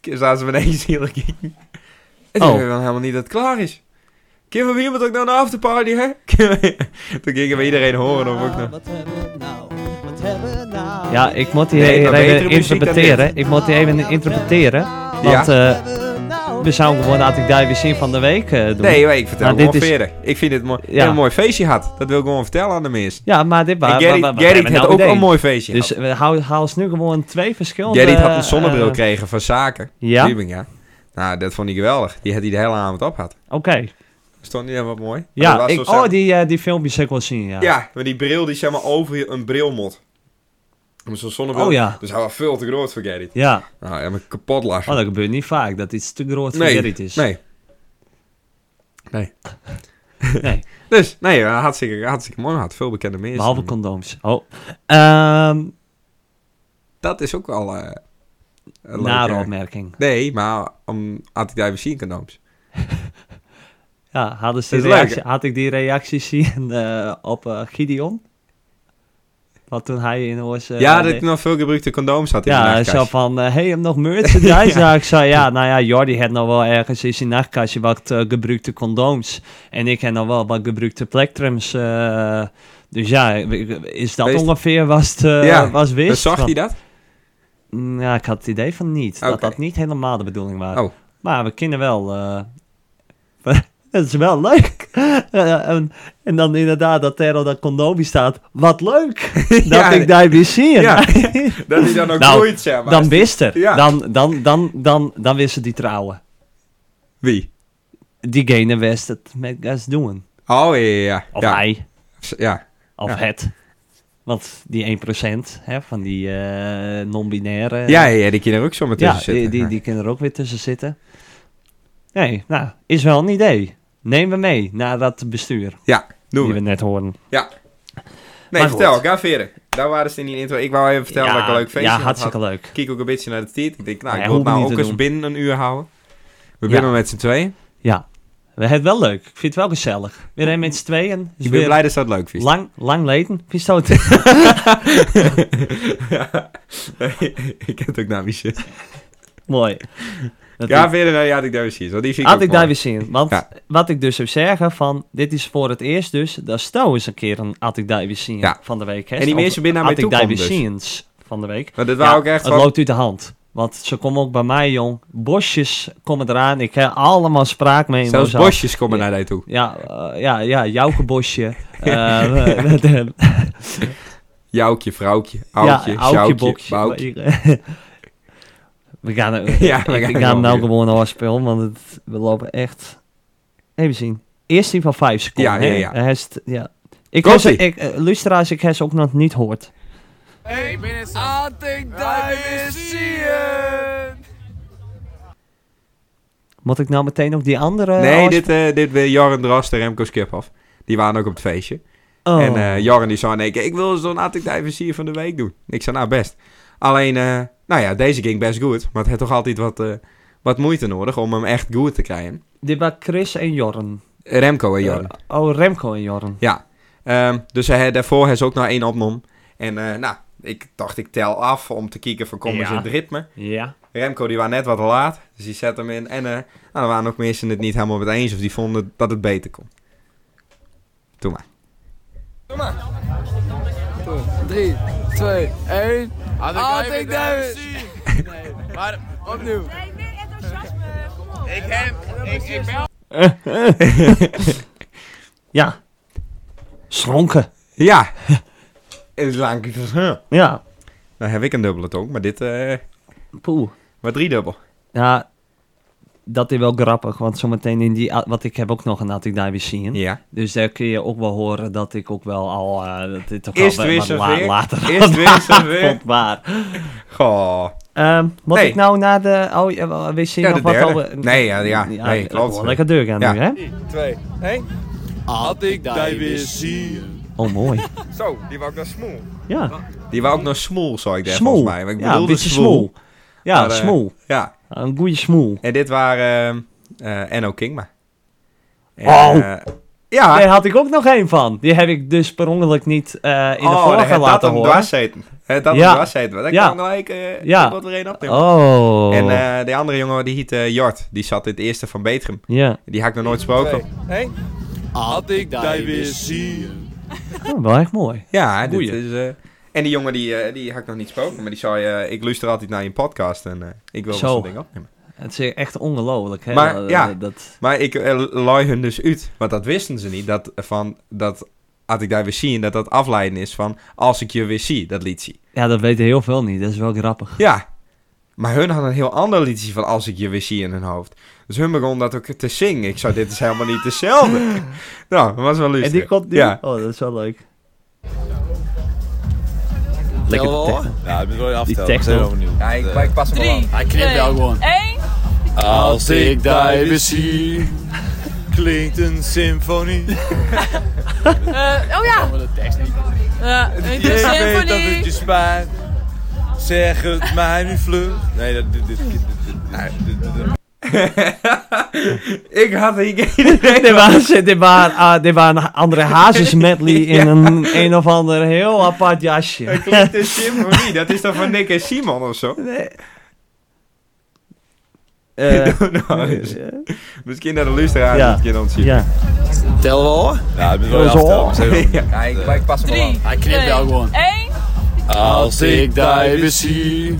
Speaker 2: Toen zaten ze ineens heel kijken. En toen
Speaker 1: Oh.
Speaker 2: weten we dan helemaal niet dat het klaar is. Kim van iemand ook naar een afterparty, hè? [LAUGHS] Kunnen we- toen gingen we iedereen horen of ook nog.
Speaker 1: ja, ik moet die
Speaker 2: Nee, maar
Speaker 1: even
Speaker 2: betere muziek dan
Speaker 1: interpreteren. Ik moet die even interpreteren. Want eh, we zouden gewoon had ik daar weer zin van de week eh, doen.
Speaker 2: Nee, maar ik vertel
Speaker 1: Maar
Speaker 2: gewoon
Speaker 1: dit is-
Speaker 2: verder. Ik vind het mooi.
Speaker 1: Ja.
Speaker 2: een mooi feestje had. Dat wil ik gewoon vertellen aan de mensen.
Speaker 1: Ja, maar dit was.
Speaker 2: en Gerrit, Gerrit had ook een mooi feestje
Speaker 1: nou Dus
Speaker 2: gehad.
Speaker 1: we hou- haal eens nu gewoon twee verschillende.
Speaker 2: Gerrit had een zonnebril
Speaker 1: eh,
Speaker 2: gekregen van Zaken.
Speaker 1: ja, oké.
Speaker 2: Tübingen. Nou, dat vond ik geweldig. Die had hij de hele avond op had. Stond niet helemaal mooi? Maar dat
Speaker 1: Ja,
Speaker 2: was
Speaker 1: ik,
Speaker 2: zo
Speaker 1: oh,
Speaker 2: zeg-
Speaker 1: die, eh, die filmpjes heb ik wel zien, ja.
Speaker 2: Ja, maar die bril die zeg maar over een brilmot. Met zo'n zonnebril.
Speaker 1: Oh, ja.
Speaker 2: Dus hij was veel te groot voor Gerrit.
Speaker 1: Ja,
Speaker 2: Nou, hij had me kapot lachen.
Speaker 1: oh, dat gebeurt niet vaak, dat iets te groot voor Gerrit is.
Speaker 2: Nee. Nee.
Speaker 1: Nee.
Speaker 2: dus, nee, eh, hartstikke, hartstikke mooi. Had veel bekende mensen.
Speaker 1: Behalve condooms. Oh. Ehm
Speaker 2: Dat is ook wel... eh een
Speaker 1: nare
Speaker 2: leuke-
Speaker 1: opmerking.
Speaker 2: Nee, maar om, had ik daar misschien condooms.
Speaker 1: Ja, hadden ze
Speaker 2: Dat
Speaker 1: die
Speaker 2: is leuk,
Speaker 1: reactie, had ik die reactie [LAUGHS] zien eh, op eh, Gideon? Wat toen hij in ons... eh,
Speaker 2: ja, dat
Speaker 1: nee.
Speaker 2: ik nog veel gebruikte condooms had in de
Speaker 1: ja,
Speaker 2: nachtkast.
Speaker 1: zo van, eh, hey, hem
Speaker 2: [LAUGHS]
Speaker 1: nog merchandise? ja. Ik zei, ja, nou ja, Jordi had nog wel ergens in zijn nachtkastje wat eh, gebruikte condooms. En ik heb nog wel wat gebruikte plectrums. eh, dus ja, is dat
Speaker 2: Wees-
Speaker 1: ongeveer was het eh,
Speaker 2: Ja,
Speaker 1: was wist?
Speaker 2: Dus zag
Speaker 1: Want-
Speaker 2: hij dat?
Speaker 1: Nou, ik had het idee van niet. Dat
Speaker 2: Oké.
Speaker 1: dat niet helemaal de bedoeling was.
Speaker 2: Oh.
Speaker 1: Maar we kunnen wel... eh, [LAUGHS] Het is wel leuk. [LAUGHS] Eh, en, en dan inderdaad dat er al dat condoompje staat. Wat
Speaker 2: [LAUGHS]
Speaker 1: leuk dat
Speaker 2: Ja.
Speaker 1: ik daar weer zie. [LAUGHS]
Speaker 2: Ja. Dat hij dan ook
Speaker 1: Nou,
Speaker 2: nooit, zeg maar.
Speaker 1: Dan wist er.
Speaker 2: Ja.
Speaker 1: Dan, dan, dan, dan, dan wist ze die trouwen.
Speaker 2: Wie?
Speaker 1: Diegene wist het met gas doen.
Speaker 2: Oh, ja, ja, ja.
Speaker 1: Of
Speaker 2: ja.
Speaker 1: hij.
Speaker 2: Ja,
Speaker 1: Of
Speaker 2: Ja.
Speaker 1: het. Want die 1% hè, van die eh, non-binaire...
Speaker 2: ja, ja, ja, die kunnen er ook zomaar
Speaker 1: Ja,
Speaker 2: tussen zitten.
Speaker 1: die,
Speaker 2: Ja.
Speaker 1: die, die kunnen er ook weer tussen zitten. Nee, nou, is wel een idee. Neem we mee naar dat bestuur
Speaker 2: Ja, doen
Speaker 1: die
Speaker 2: we.
Speaker 1: we net hoorden.
Speaker 2: Nee,
Speaker 1: Maar
Speaker 2: vertel,
Speaker 1: goed.
Speaker 2: ga verder. Daar waren ze in die intro. Ik wou even vertellen dat ik een leuk feestje
Speaker 1: Ja,
Speaker 2: had
Speaker 1: hartstikke
Speaker 2: gehad.
Speaker 1: leuk.
Speaker 2: Ik Kijk ook een beetje naar de tijd. Ik denk, nou,
Speaker 1: Ja,
Speaker 2: ik wil
Speaker 1: hoeven
Speaker 2: het nou
Speaker 1: niet
Speaker 2: ook
Speaker 1: te
Speaker 2: eens
Speaker 1: doen.
Speaker 2: binnen een uur houden. We
Speaker 1: Ja. Dus
Speaker 2: binnen met z'n tweeën.
Speaker 1: Ja, we hebben het wel leuk. Ik vind het wel gezellig. Weer een met z'n tweeën. Is
Speaker 2: Ik ben
Speaker 1: weer
Speaker 2: blij dat ze dat leuk [LAUGHS] vinden.
Speaker 1: lang, lang leden. Vind je dat?
Speaker 2: ik heb het ook naar wie zit.
Speaker 1: [LAUGHS] Mooi. Dat
Speaker 2: Ga verder naar die had ik daar weer zien. Want die vind ik
Speaker 1: Had
Speaker 2: ook
Speaker 1: ik
Speaker 2: mooi.
Speaker 1: daar weer zin in. Want
Speaker 2: Ja.
Speaker 1: wat ik dus zou zeggen van... Dit is voor het eerst dus... Dat is trouwens een keer een had ik daar weer zin
Speaker 2: Ja.
Speaker 1: van de week. Hè?
Speaker 2: En die
Speaker 1: Of
Speaker 2: mensen binnen naar
Speaker 1: Had
Speaker 2: mij
Speaker 1: ik
Speaker 2: toe
Speaker 1: daar
Speaker 2: komen
Speaker 1: weer
Speaker 2: dus.
Speaker 1: ziens van de week.
Speaker 2: Want dit
Speaker 1: Ja,
Speaker 2: wou ik echt
Speaker 1: het
Speaker 2: wel...
Speaker 1: loopt uit de hand. Want ze komen ook bij mij, jong. Bosjes komen eraan. Ik heb allemaal spraak mee. in
Speaker 2: Zelfs
Speaker 1: Mozart.
Speaker 2: bosjes komen naar daar toe.
Speaker 1: Ja, eh, ja, ja, Jouke
Speaker 2: [LAUGHS]
Speaker 1: Bosje. Eh, [LAUGHS] eh, de-
Speaker 2: Joukje, vrouwtje, oudje,
Speaker 1: ja, Aukje
Speaker 2: sjouwtje,
Speaker 1: Bokje.
Speaker 2: boutje.
Speaker 1: [LAUGHS] We gaan,
Speaker 2: [LAUGHS] Ja,
Speaker 1: [LAUGHS]
Speaker 2: we
Speaker 1: we
Speaker 2: gaan
Speaker 1: gaan,
Speaker 2: gewoon
Speaker 1: nou
Speaker 2: weer.
Speaker 1: gewoon afspelen, want het, we lopen echt... Even zien. Eerst die van 5 seconden.
Speaker 2: Ja,
Speaker 1: hè?
Speaker 2: ja, ja.
Speaker 1: Hij is t- ja. Ik, heb
Speaker 2: Komt-ie.
Speaker 1: ze- ik, eh, luisteraars, ik heb ze ook nog niet gehoord. Moet ik nou meteen ook die andere...
Speaker 2: Nee,
Speaker 1: afsp-
Speaker 2: dit, eh dit wil Jorren Dras en Remco Skiphoff. Die waren ook op het feestje.
Speaker 1: Oh.
Speaker 2: En eh Jorren die zei in één keer, ik wil zo'n Attic Diversier van de week doen. Ik zei, nou best. Alleen, eh, nou ja, deze ging best goed. Maar het had toch altijd wat, eh, wat moeite nodig om hem echt goed te krijgen.
Speaker 1: Dit waren Chris en Jorren.
Speaker 2: Remco en Jorren.
Speaker 1: Eh, oh, Remco en Jorren.
Speaker 2: Ehm, dus hij, daarvoor heeft ze ook nog één opnom. En eh, nou, ik dacht ik tel af om te kijken van komen ze
Speaker 1: Ja.
Speaker 2: in het ritme.
Speaker 1: Ja.
Speaker 2: Remco die was net wat laat, dus die zet hem in. En eh nou, er waren ook mensen het niet helemaal met eens of die vonden dat het beter kon. Doe maar.
Speaker 5: 3, 2, 1.
Speaker 6: Had ik
Speaker 5: Had
Speaker 6: even
Speaker 5: ik
Speaker 6: daar
Speaker 5: daar
Speaker 6: Nee, maar
Speaker 5: Opnieuw.
Speaker 7: Nee, meer enthousiasme. Kom op.
Speaker 6: ik heb, ik zit wel.
Speaker 1: Ja. Schronken. [LAUGHS]
Speaker 2: Ja. is lang.
Speaker 1: Ja.
Speaker 2: Dan heb ik een dubbele tong, maar dit eh
Speaker 1: Poeh.
Speaker 2: maar driedubbel.
Speaker 1: Ja, dat is wel grappig, want zometeen in die... a- Want ik heb ook nog een Attic Dive zien.
Speaker 2: Ja.
Speaker 1: Dus daar kun je ook wel horen dat ik ook wel al... eh, dat dit toch
Speaker 2: Eerst
Speaker 1: wel
Speaker 2: weer
Speaker 1: wat [LAUGHS]
Speaker 2: zover.
Speaker 1: later
Speaker 2: Eerst weer zover.
Speaker 1: vond maar.
Speaker 2: Goh.
Speaker 1: Ehm, moet
Speaker 2: Nee.
Speaker 1: ik nou naar de... Oh, ja, we zien
Speaker 2: Ja,
Speaker 1: nog
Speaker 2: de
Speaker 1: wat
Speaker 2: derde.
Speaker 1: over...
Speaker 2: Nee, ja, ja. Nee,
Speaker 1: eh,
Speaker 2: klopt.
Speaker 1: gewoon Lekker deur gaan
Speaker 2: Ja.
Speaker 1: nu, hè?
Speaker 2: 2, 1.
Speaker 5: Had ik daar weer zien.
Speaker 1: Oh, mooi.
Speaker 2: Zo, die wou ik naar smoel.
Speaker 1: Ja,
Speaker 2: Die wou ook naar smoel, zou ik daar
Speaker 1: smoel.
Speaker 2: volgens mij. Maar ik
Speaker 1: ja, een
Speaker 2: bedoelde
Speaker 1: beetje smoel. Ja,
Speaker 2: Maar, eh,
Speaker 1: smoel.
Speaker 2: Ja,
Speaker 1: Een goede smoel.
Speaker 2: En dit waren eh eh Enno Kingma. En,
Speaker 1: Oh.
Speaker 2: eh, ja.
Speaker 1: Daar had ik ook nog één van. Die heb ik dus per ongeluk niet eh, in de
Speaker 2: oh, dan
Speaker 1: vorige
Speaker 2: had dat
Speaker 1: laten
Speaker 2: hem
Speaker 1: horen.
Speaker 2: dwars zeten. Het dat
Speaker 1: Ja.
Speaker 2: hem dwars zeten. Dat
Speaker 1: Ja.
Speaker 2: kan gelijk eh
Speaker 1: Ja.
Speaker 2: wat er één opnemen.
Speaker 1: Oh.
Speaker 2: En eh de andere jongen, die heet eh, Jort. Die zat in het eerste van Betrum.
Speaker 1: ja,
Speaker 2: Die had ik nog nooit gesproken.
Speaker 5: Had ik daar weer zien.
Speaker 1: Oh, wel echt mooi.
Speaker 2: Ja, dit
Speaker 1: Goeie.
Speaker 2: is... eh, en die jongen, die, eh, die had ik nog niet gesproken. Maar die zei, eh, ik luister altijd naar je podcast. En eh, ik wil wel
Speaker 1: Zo.
Speaker 2: zo'n ding opnemen.
Speaker 1: Het is echt ongelooflijk. hè?
Speaker 2: Maar,
Speaker 1: Eh,
Speaker 2: ja.
Speaker 1: Dat,
Speaker 2: Maar ik eh, looi hun dus uit. Want dat wisten ze niet. Dat, van, dat had ik daar weer zien, dat dat afleiden is van... Als ik je weer zie, dat liet zien.
Speaker 1: ja, dat weten heel veel niet. Dat is wel grappig.
Speaker 2: Ja. Maar hun hadden een heel ander liedje van Als ik je weer zie in hun hoofd. Dus hun begon dat ook te zingen. Ik zou dit is helemaal niet
Speaker 1: [LAUGHS]
Speaker 2: hetzelfde. nou, dat was wel lustig.
Speaker 1: En die komt nu?
Speaker 2: Ja.
Speaker 1: Oh, dat is wel leuk. Lekker
Speaker 5: Wel,
Speaker 1: techno.
Speaker 5: hoor. Ja, ik moet wel je
Speaker 1: Die
Speaker 5: aftellen.
Speaker 1: techno.
Speaker 5: zijn overnieuw.
Speaker 2: Ja, ik,
Speaker 5: Eh,
Speaker 2: maar ik pas hem wel aan.
Speaker 7: Drie,
Speaker 5: Hij knipt wel gewoon.
Speaker 7: 1.
Speaker 5: Als ik daar weer zie, klinkt een symfonie.
Speaker 7: oh ja.
Speaker 5: de tekst niet.
Speaker 7: Eh, het is
Speaker 5: Je weet dat het je
Speaker 7: symfonie.
Speaker 5: spijt. Zeg het mij nu vlug. Nee, dat... Dit, dit, dit, dit, dit- dit- dit-
Speaker 2: [LAUGHS] Ik had hier geen idee.
Speaker 1: Dit waren, dit waren, ah, dit waren een andere hazes
Speaker 2: [LAUGHS]
Speaker 1: medley in een, een of ander heel apart jasje.
Speaker 2: Klinkt een symfonie. Dat is dan van Nick en Simon of zo? [LAUGHS]
Speaker 1: Eh,
Speaker 2: nou, dus- misschien dat de luisteraar
Speaker 1: Ja.
Speaker 2: dit keer dan zien.
Speaker 1: ja.
Speaker 5: Tel wel. Ja, ik moet wel je
Speaker 1: Zo.
Speaker 5: aftellen. maar zijn overnieuw.
Speaker 2: Ja, ik, maar ik pas hem wel aan.
Speaker 7: 3.
Speaker 5: Hij knipt wel gewoon.
Speaker 7: 1.
Speaker 5: Als ik daar weer zie,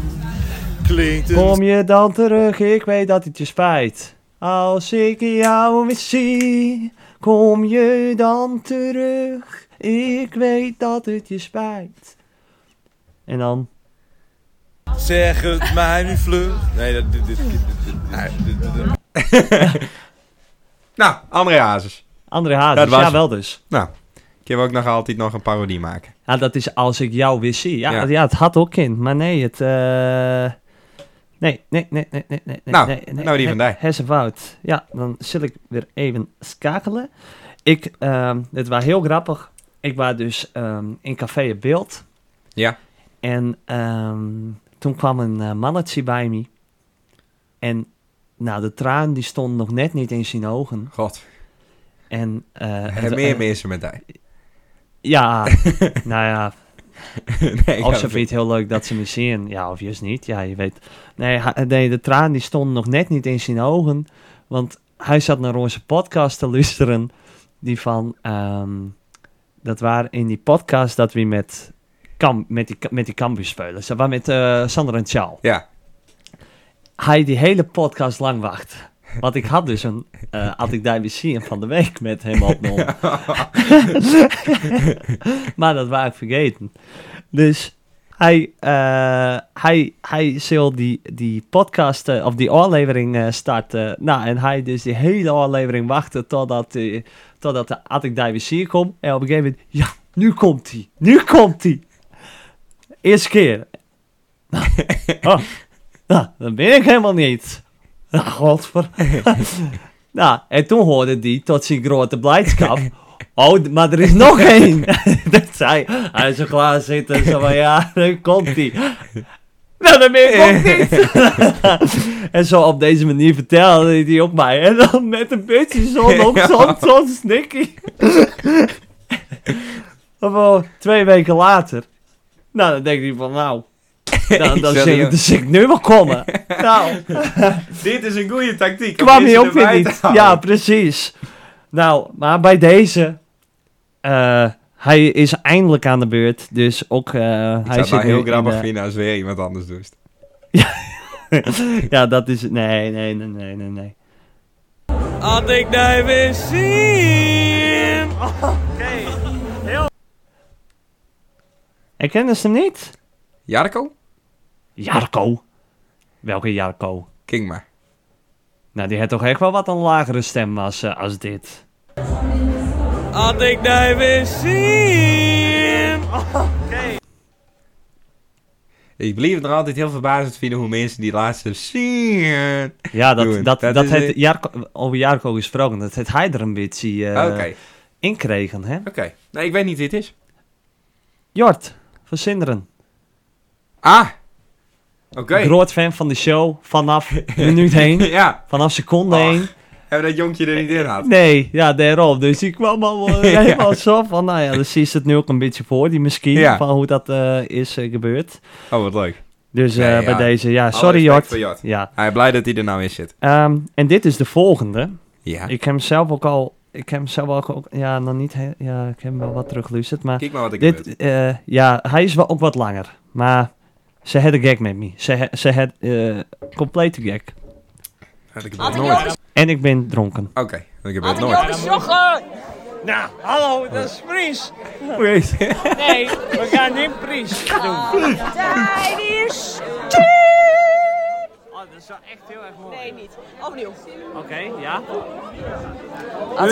Speaker 5: klinkt een
Speaker 1: Kom je dan terug, ik weet dat het je spijt. Als ik jou weer zie, kom je dan terug. Ik weet dat het je spijt. En dan...
Speaker 5: Zeg het mij nu vlug. Nee, dat, dit, dit, dit, dit, dit- dit- dit-
Speaker 2: [LAUGHS] Nou, André Hazes.
Speaker 1: André
Speaker 2: Dat
Speaker 1: Hazes,
Speaker 2: was
Speaker 1: ja
Speaker 2: hem.
Speaker 1: wel dus.
Speaker 2: Nou, ik heb ook nog altijd nog een parodie maken.
Speaker 1: Ja, dat is als ik jou weer zie. Ja,
Speaker 2: Ja.
Speaker 1: ja. het had ook kind, maar nee, het... eh, Nee, nee, nee, nee, nee, nee.
Speaker 2: Nou,
Speaker 1: nee, nee,
Speaker 2: nou die
Speaker 1: nee,
Speaker 2: vandaag.
Speaker 1: hersenfout. Ja, dan zal ik weer even schakelen. Ik, ehm dit was heel grappig. Ik was dus ehm, in Café Het Beeld.
Speaker 2: Ja.
Speaker 1: En ehm, toen kwam een eh, mannetje bij me. En nou, de traan die stond nog net niet in zijn ogen.
Speaker 2: God,
Speaker 1: En, eh,
Speaker 2: er
Speaker 1: het-
Speaker 2: meer
Speaker 1: eh,
Speaker 2: mensen met hij. [LAUGHS]
Speaker 1: Ja, nou ja,
Speaker 2: Nee, ik
Speaker 1: Of
Speaker 2: had
Speaker 1: ze
Speaker 2: het
Speaker 1: vindt het heel leuk dat ze me zien. Ja, of juist niet. Ja, je weet. Nee, hij- nee, de traan die stond nog net niet in zijn ogen. Want hij zat naar onze podcast te luisteren. Die van... ehm, dat waren in die podcast dat we met, Cam, met die, met die Cambuur spelen. Ze waren met eh Sander en Ciao.
Speaker 2: Ja.
Speaker 1: Hij die hele podcast lang wacht. Want ik had dus een... eh had ik daar weer zien van de week met hem opgenomen. maar dat was ik vergeten. Dus hij, eh, hij, hij zal die, die podcast eh, of die aflevering eh, starten. Nou, en hij dus die hele aflevering wachten totdat, eh, totdat de Attic Divisier komt. En op een gegeven moment, ja, nu komt hij. Nu komt hij. Eerste keer. Nou, oh, nou, dat ben ik helemaal niet. Nou, godver. [LAUGHS] nou, en toen hoorde hij tot zijn grote blijdschap. Oh, d- maar er is nog één. [LAUGHS] dat zei hij. Hij zo klaar zitten. Zo van, ja, nu komt hij. Nou, dat ben ik ook niet. [LAUGHS] en zo op deze manier vertelde hij die op mij. En dan met een beetje zon op, zo'n zo'n snikkie. [LAUGHS] Of wel twee weken later. Nou, dan denk hij van, nou... Dan, dan
Speaker 2: Sorry,
Speaker 1: zit ik,
Speaker 2: joh.
Speaker 1: dan zit ik nu wel komen. nou,
Speaker 2: Dit is een goede tactiek. om
Speaker 1: kwam hij
Speaker 2: mensen
Speaker 1: ook weer
Speaker 2: erbij te
Speaker 1: niet.
Speaker 2: houden.
Speaker 1: Ja, precies. Nou, maar bij deze... eh, hij is eindelijk aan de beurt. Dus ook... eh,
Speaker 2: Ik
Speaker 1: hij
Speaker 2: zou het
Speaker 1: zit
Speaker 2: wel
Speaker 1: nu
Speaker 2: heel
Speaker 1: in
Speaker 2: grappig
Speaker 1: de-
Speaker 2: vinden als weer iemand anders doet.
Speaker 1: Ja, dat is... Nee, nee, nee, nee, nee, nee.
Speaker 6: Had ik daar weer
Speaker 1: [LAUGHS]
Speaker 6: zien.
Speaker 1: Herkennen ze hem niet?
Speaker 2: Jarko?
Speaker 1: Jarko. Welke Jarko?
Speaker 2: King maar.
Speaker 1: Nou, die had toch echt wel wat een lagere stem als, eh, als dit.
Speaker 6: Had ik daar weer zien.
Speaker 2: Ik bleef het er altijd heel verbazend vinden hoe mensen die laatste zien.
Speaker 1: Ja, dat,
Speaker 2: Doen.
Speaker 1: dat,
Speaker 2: Dat
Speaker 1: dat,
Speaker 2: is,
Speaker 1: heeft
Speaker 2: eh,
Speaker 1: Jarko, over Jarko gesproken. Dat heeft hij er een beetje eh,
Speaker 2: Oké, Ah, oké.
Speaker 1: in kregen, hè?
Speaker 2: Nee, ik weet niet wie het is.
Speaker 1: Jort, van Sinderen.
Speaker 2: Ah! Oké.
Speaker 1: Groot fan van de show. Vanaf minuut heen.
Speaker 2: [LAUGHS] ja, Ah.
Speaker 1: Vanaf seconde
Speaker 2: Och.
Speaker 1: heen.
Speaker 2: hebben we dat jonkje er niet in had.
Speaker 1: Nee, ja, daarom. Dus ik kwam al wel
Speaker 2: [LAUGHS] Ja.
Speaker 1: helemaal zo van... Nou ja, dus is het nu ook een beetje voor. Die misschien,
Speaker 2: Ja.
Speaker 1: van hoe dat eh, is eh, gebeurd.
Speaker 2: [LAUGHS] Oh, wat leuk.
Speaker 1: Dus eh,
Speaker 2: Nee, ja.
Speaker 1: bij deze, ja,
Speaker 2: Alle
Speaker 1: sorry
Speaker 2: respect
Speaker 1: Jort.
Speaker 2: voor Jort.
Speaker 1: Ja.
Speaker 2: Hij is blij dat hij er nou in zit.
Speaker 1: Ehm, en dit is de volgende.
Speaker 2: Ja.
Speaker 1: Ik heb hem zelf ook al. Ik heb hem zelf ook. ook ja, nog niet. he- ja, ik heb hem wel wat teruggeluisterd. Maar.
Speaker 2: Kijk maar wat ik heb.
Speaker 1: Dit, eh, ja, hij is wel ook wat langer. Maar. Ze had een gag met me. Ze, ha- ze had. eh complete gag.
Speaker 2: Had ik het
Speaker 7: Had ik
Speaker 2: nooit.
Speaker 7: Joris,
Speaker 1: En ik ben
Speaker 2: [LAUGHS]
Speaker 1: dronken.
Speaker 2: Oké, dan heb ik
Speaker 7: had
Speaker 2: het
Speaker 7: ik
Speaker 2: nooit.
Speaker 7: Joris Jochem?
Speaker 6: Nou, hallo, dat is Fries.
Speaker 1: Weet-
Speaker 6: Nee, we gaan niet Fries doen.
Speaker 7: Tijd is...
Speaker 6: Oh, dat is wel echt heel erg mooi.
Speaker 7: Nee, niet. [LAUGHS] Opnieuw.
Speaker 6: Oké, ja.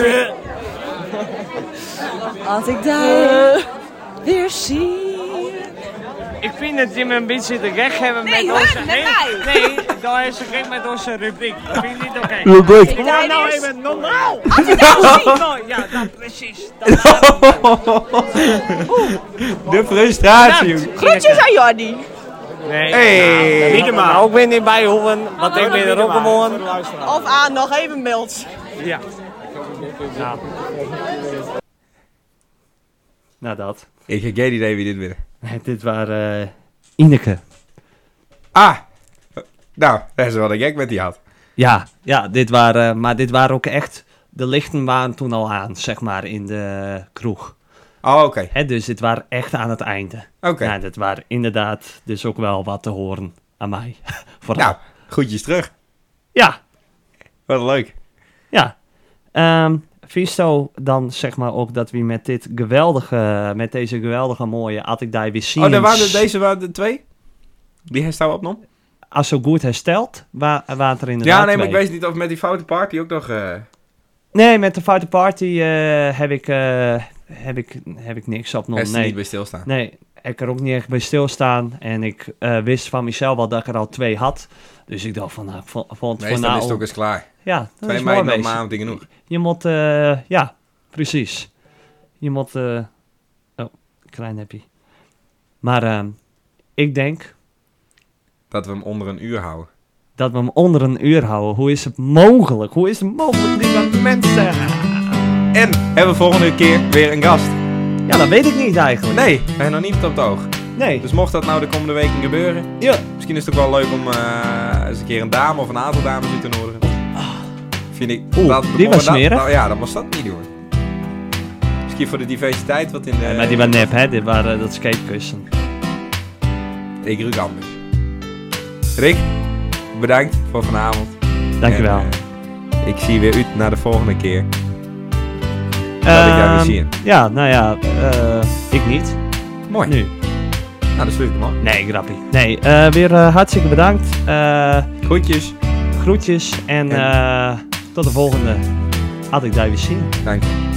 Speaker 6: Eh.
Speaker 8: Als ik daar weer zie.
Speaker 6: Eh. Ik vind dat jullie een beetje de recht hebben
Speaker 7: Nee,
Speaker 6: met
Speaker 7: hoor,
Speaker 6: onze...
Speaker 7: met
Speaker 6: nee,
Speaker 7: mij.
Speaker 6: nee, dat is de recht met onze rubriek. Dat vind ik niet oké. Kom
Speaker 7: Tijd
Speaker 6: nou
Speaker 7: is-
Speaker 6: even normaal! Nou, ja, dat precies. Dat
Speaker 2: De frustratie.
Speaker 8: Groetjes aan Jordi.
Speaker 6: Nee.
Speaker 2: Hey.
Speaker 6: Wiedema. Ook weer niet bij hoeven, want ik ben er ook gewoon.
Speaker 8: Of aan nog even mild.
Speaker 6: Ja.
Speaker 1: Nou dat.
Speaker 2: Ik heb geen idee wie dit winnen.
Speaker 1: Dit waren eh, Ineke.
Speaker 2: Ah! Nou, dat is wel een gek met die had.
Speaker 1: Ja, ja dit waren, eh, maar dit waren ook echt... De lichten waren toen al aan, zeg maar, in de kroeg.
Speaker 2: Oh, oké.
Speaker 1: Hè, dus dit waren echt aan het einde.
Speaker 2: Oké.
Speaker 1: Nou, dat waren inderdaad dus ook wel wat te horen aan mij. [LAUGHS] Vooral.
Speaker 2: Nou, groetjes terug.
Speaker 1: Ja,
Speaker 2: Wat leuk.
Speaker 1: ja. Ehm Visto dan zeg maar ook dat we met dit geweldige, met deze geweldige mooie At ik daar weer zien.
Speaker 2: Oh, daar waren deze waren de twee? Die herstel opnam?
Speaker 1: Als zo goed hersteld, wa waren er inderdaad
Speaker 2: Ja, nee, maar ik
Speaker 1: twee.
Speaker 2: weet niet of met die foute party ook nog... eh,
Speaker 1: Nee, met de Fighter Party eh, heb, ik, eh, heb, ik, heb ik niks opgenomen.
Speaker 2: Herstel niet
Speaker 1: Nee.
Speaker 2: bij stilstaan.
Speaker 1: nee, ik er ook niet echt bij stilstaan. En ik eh, wist van mezelf wel dat ik er al twee had. Dus ik dacht van, nou, ik vo- vond het voor
Speaker 2: Meestal
Speaker 1: nou...
Speaker 2: is het ook eens klaar.
Speaker 1: Ja, dat
Speaker 2: Twee
Speaker 1: is mooi
Speaker 2: meiden op
Speaker 1: geweest.
Speaker 2: mijn avond niet genoeg.
Speaker 1: Je moet, eh, ja, precies. Je moet, eh, oh, klein heb je. Maar ehm, ik denk
Speaker 2: Dat we hem onder een uur houden.
Speaker 1: dat we hem onder een uur houden. Hoe is het mogelijk? Hoe is het mogelijk, lieve mensen?
Speaker 2: En hebben we volgende keer weer een gast.
Speaker 1: Ja, dat weet ik niet eigenlijk.
Speaker 2: Nee, we hebben nog niet op het oog.
Speaker 1: Nee.
Speaker 2: Dus mocht dat nou de komende weken gebeuren...
Speaker 1: Ja.
Speaker 2: Misschien is het ook wel leuk om eh, eens een keer een dame of een aantal dames uit te nodigen. Vind ik...
Speaker 1: Oeh,
Speaker 2: dat,
Speaker 1: die
Speaker 2: dat-
Speaker 1: was
Speaker 2: dat-
Speaker 1: smerig.
Speaker 2: nou ja, dat moest dat niet doen. Misschien voor de diversiteit wat in de...
Speaker 1: Maar die waren nep, hè? Dit waren dat skatekussen.
Speaker 2: Ik ruik anders. Rick, bedankt voor vanavond.
Speaker 1: Dankjewel.
Speaker 2: En, eh, ik zie weer uit naar de volgende keer. dat ik jou
Speaker 1: Ehm,
Speaker 2: weer zie.
Speaker 1: Ja, nou ja, eh, ik niet.
Speaker 2: Mooi.
Speaker 1: Nu.
Speaker 2: Nou, dan sluit ik hem af.
Speaker 1: Nee, grappie. Nee, eh, weer eh, hartstikke bedankt. Eh,
Speaker 2: Groetjes.
Speaker 1: groetjes en
Speaker 2: En-
Speaker 1: eh, tot de volgende. Had ik daar weer zien.
Speaker 2: Dank je.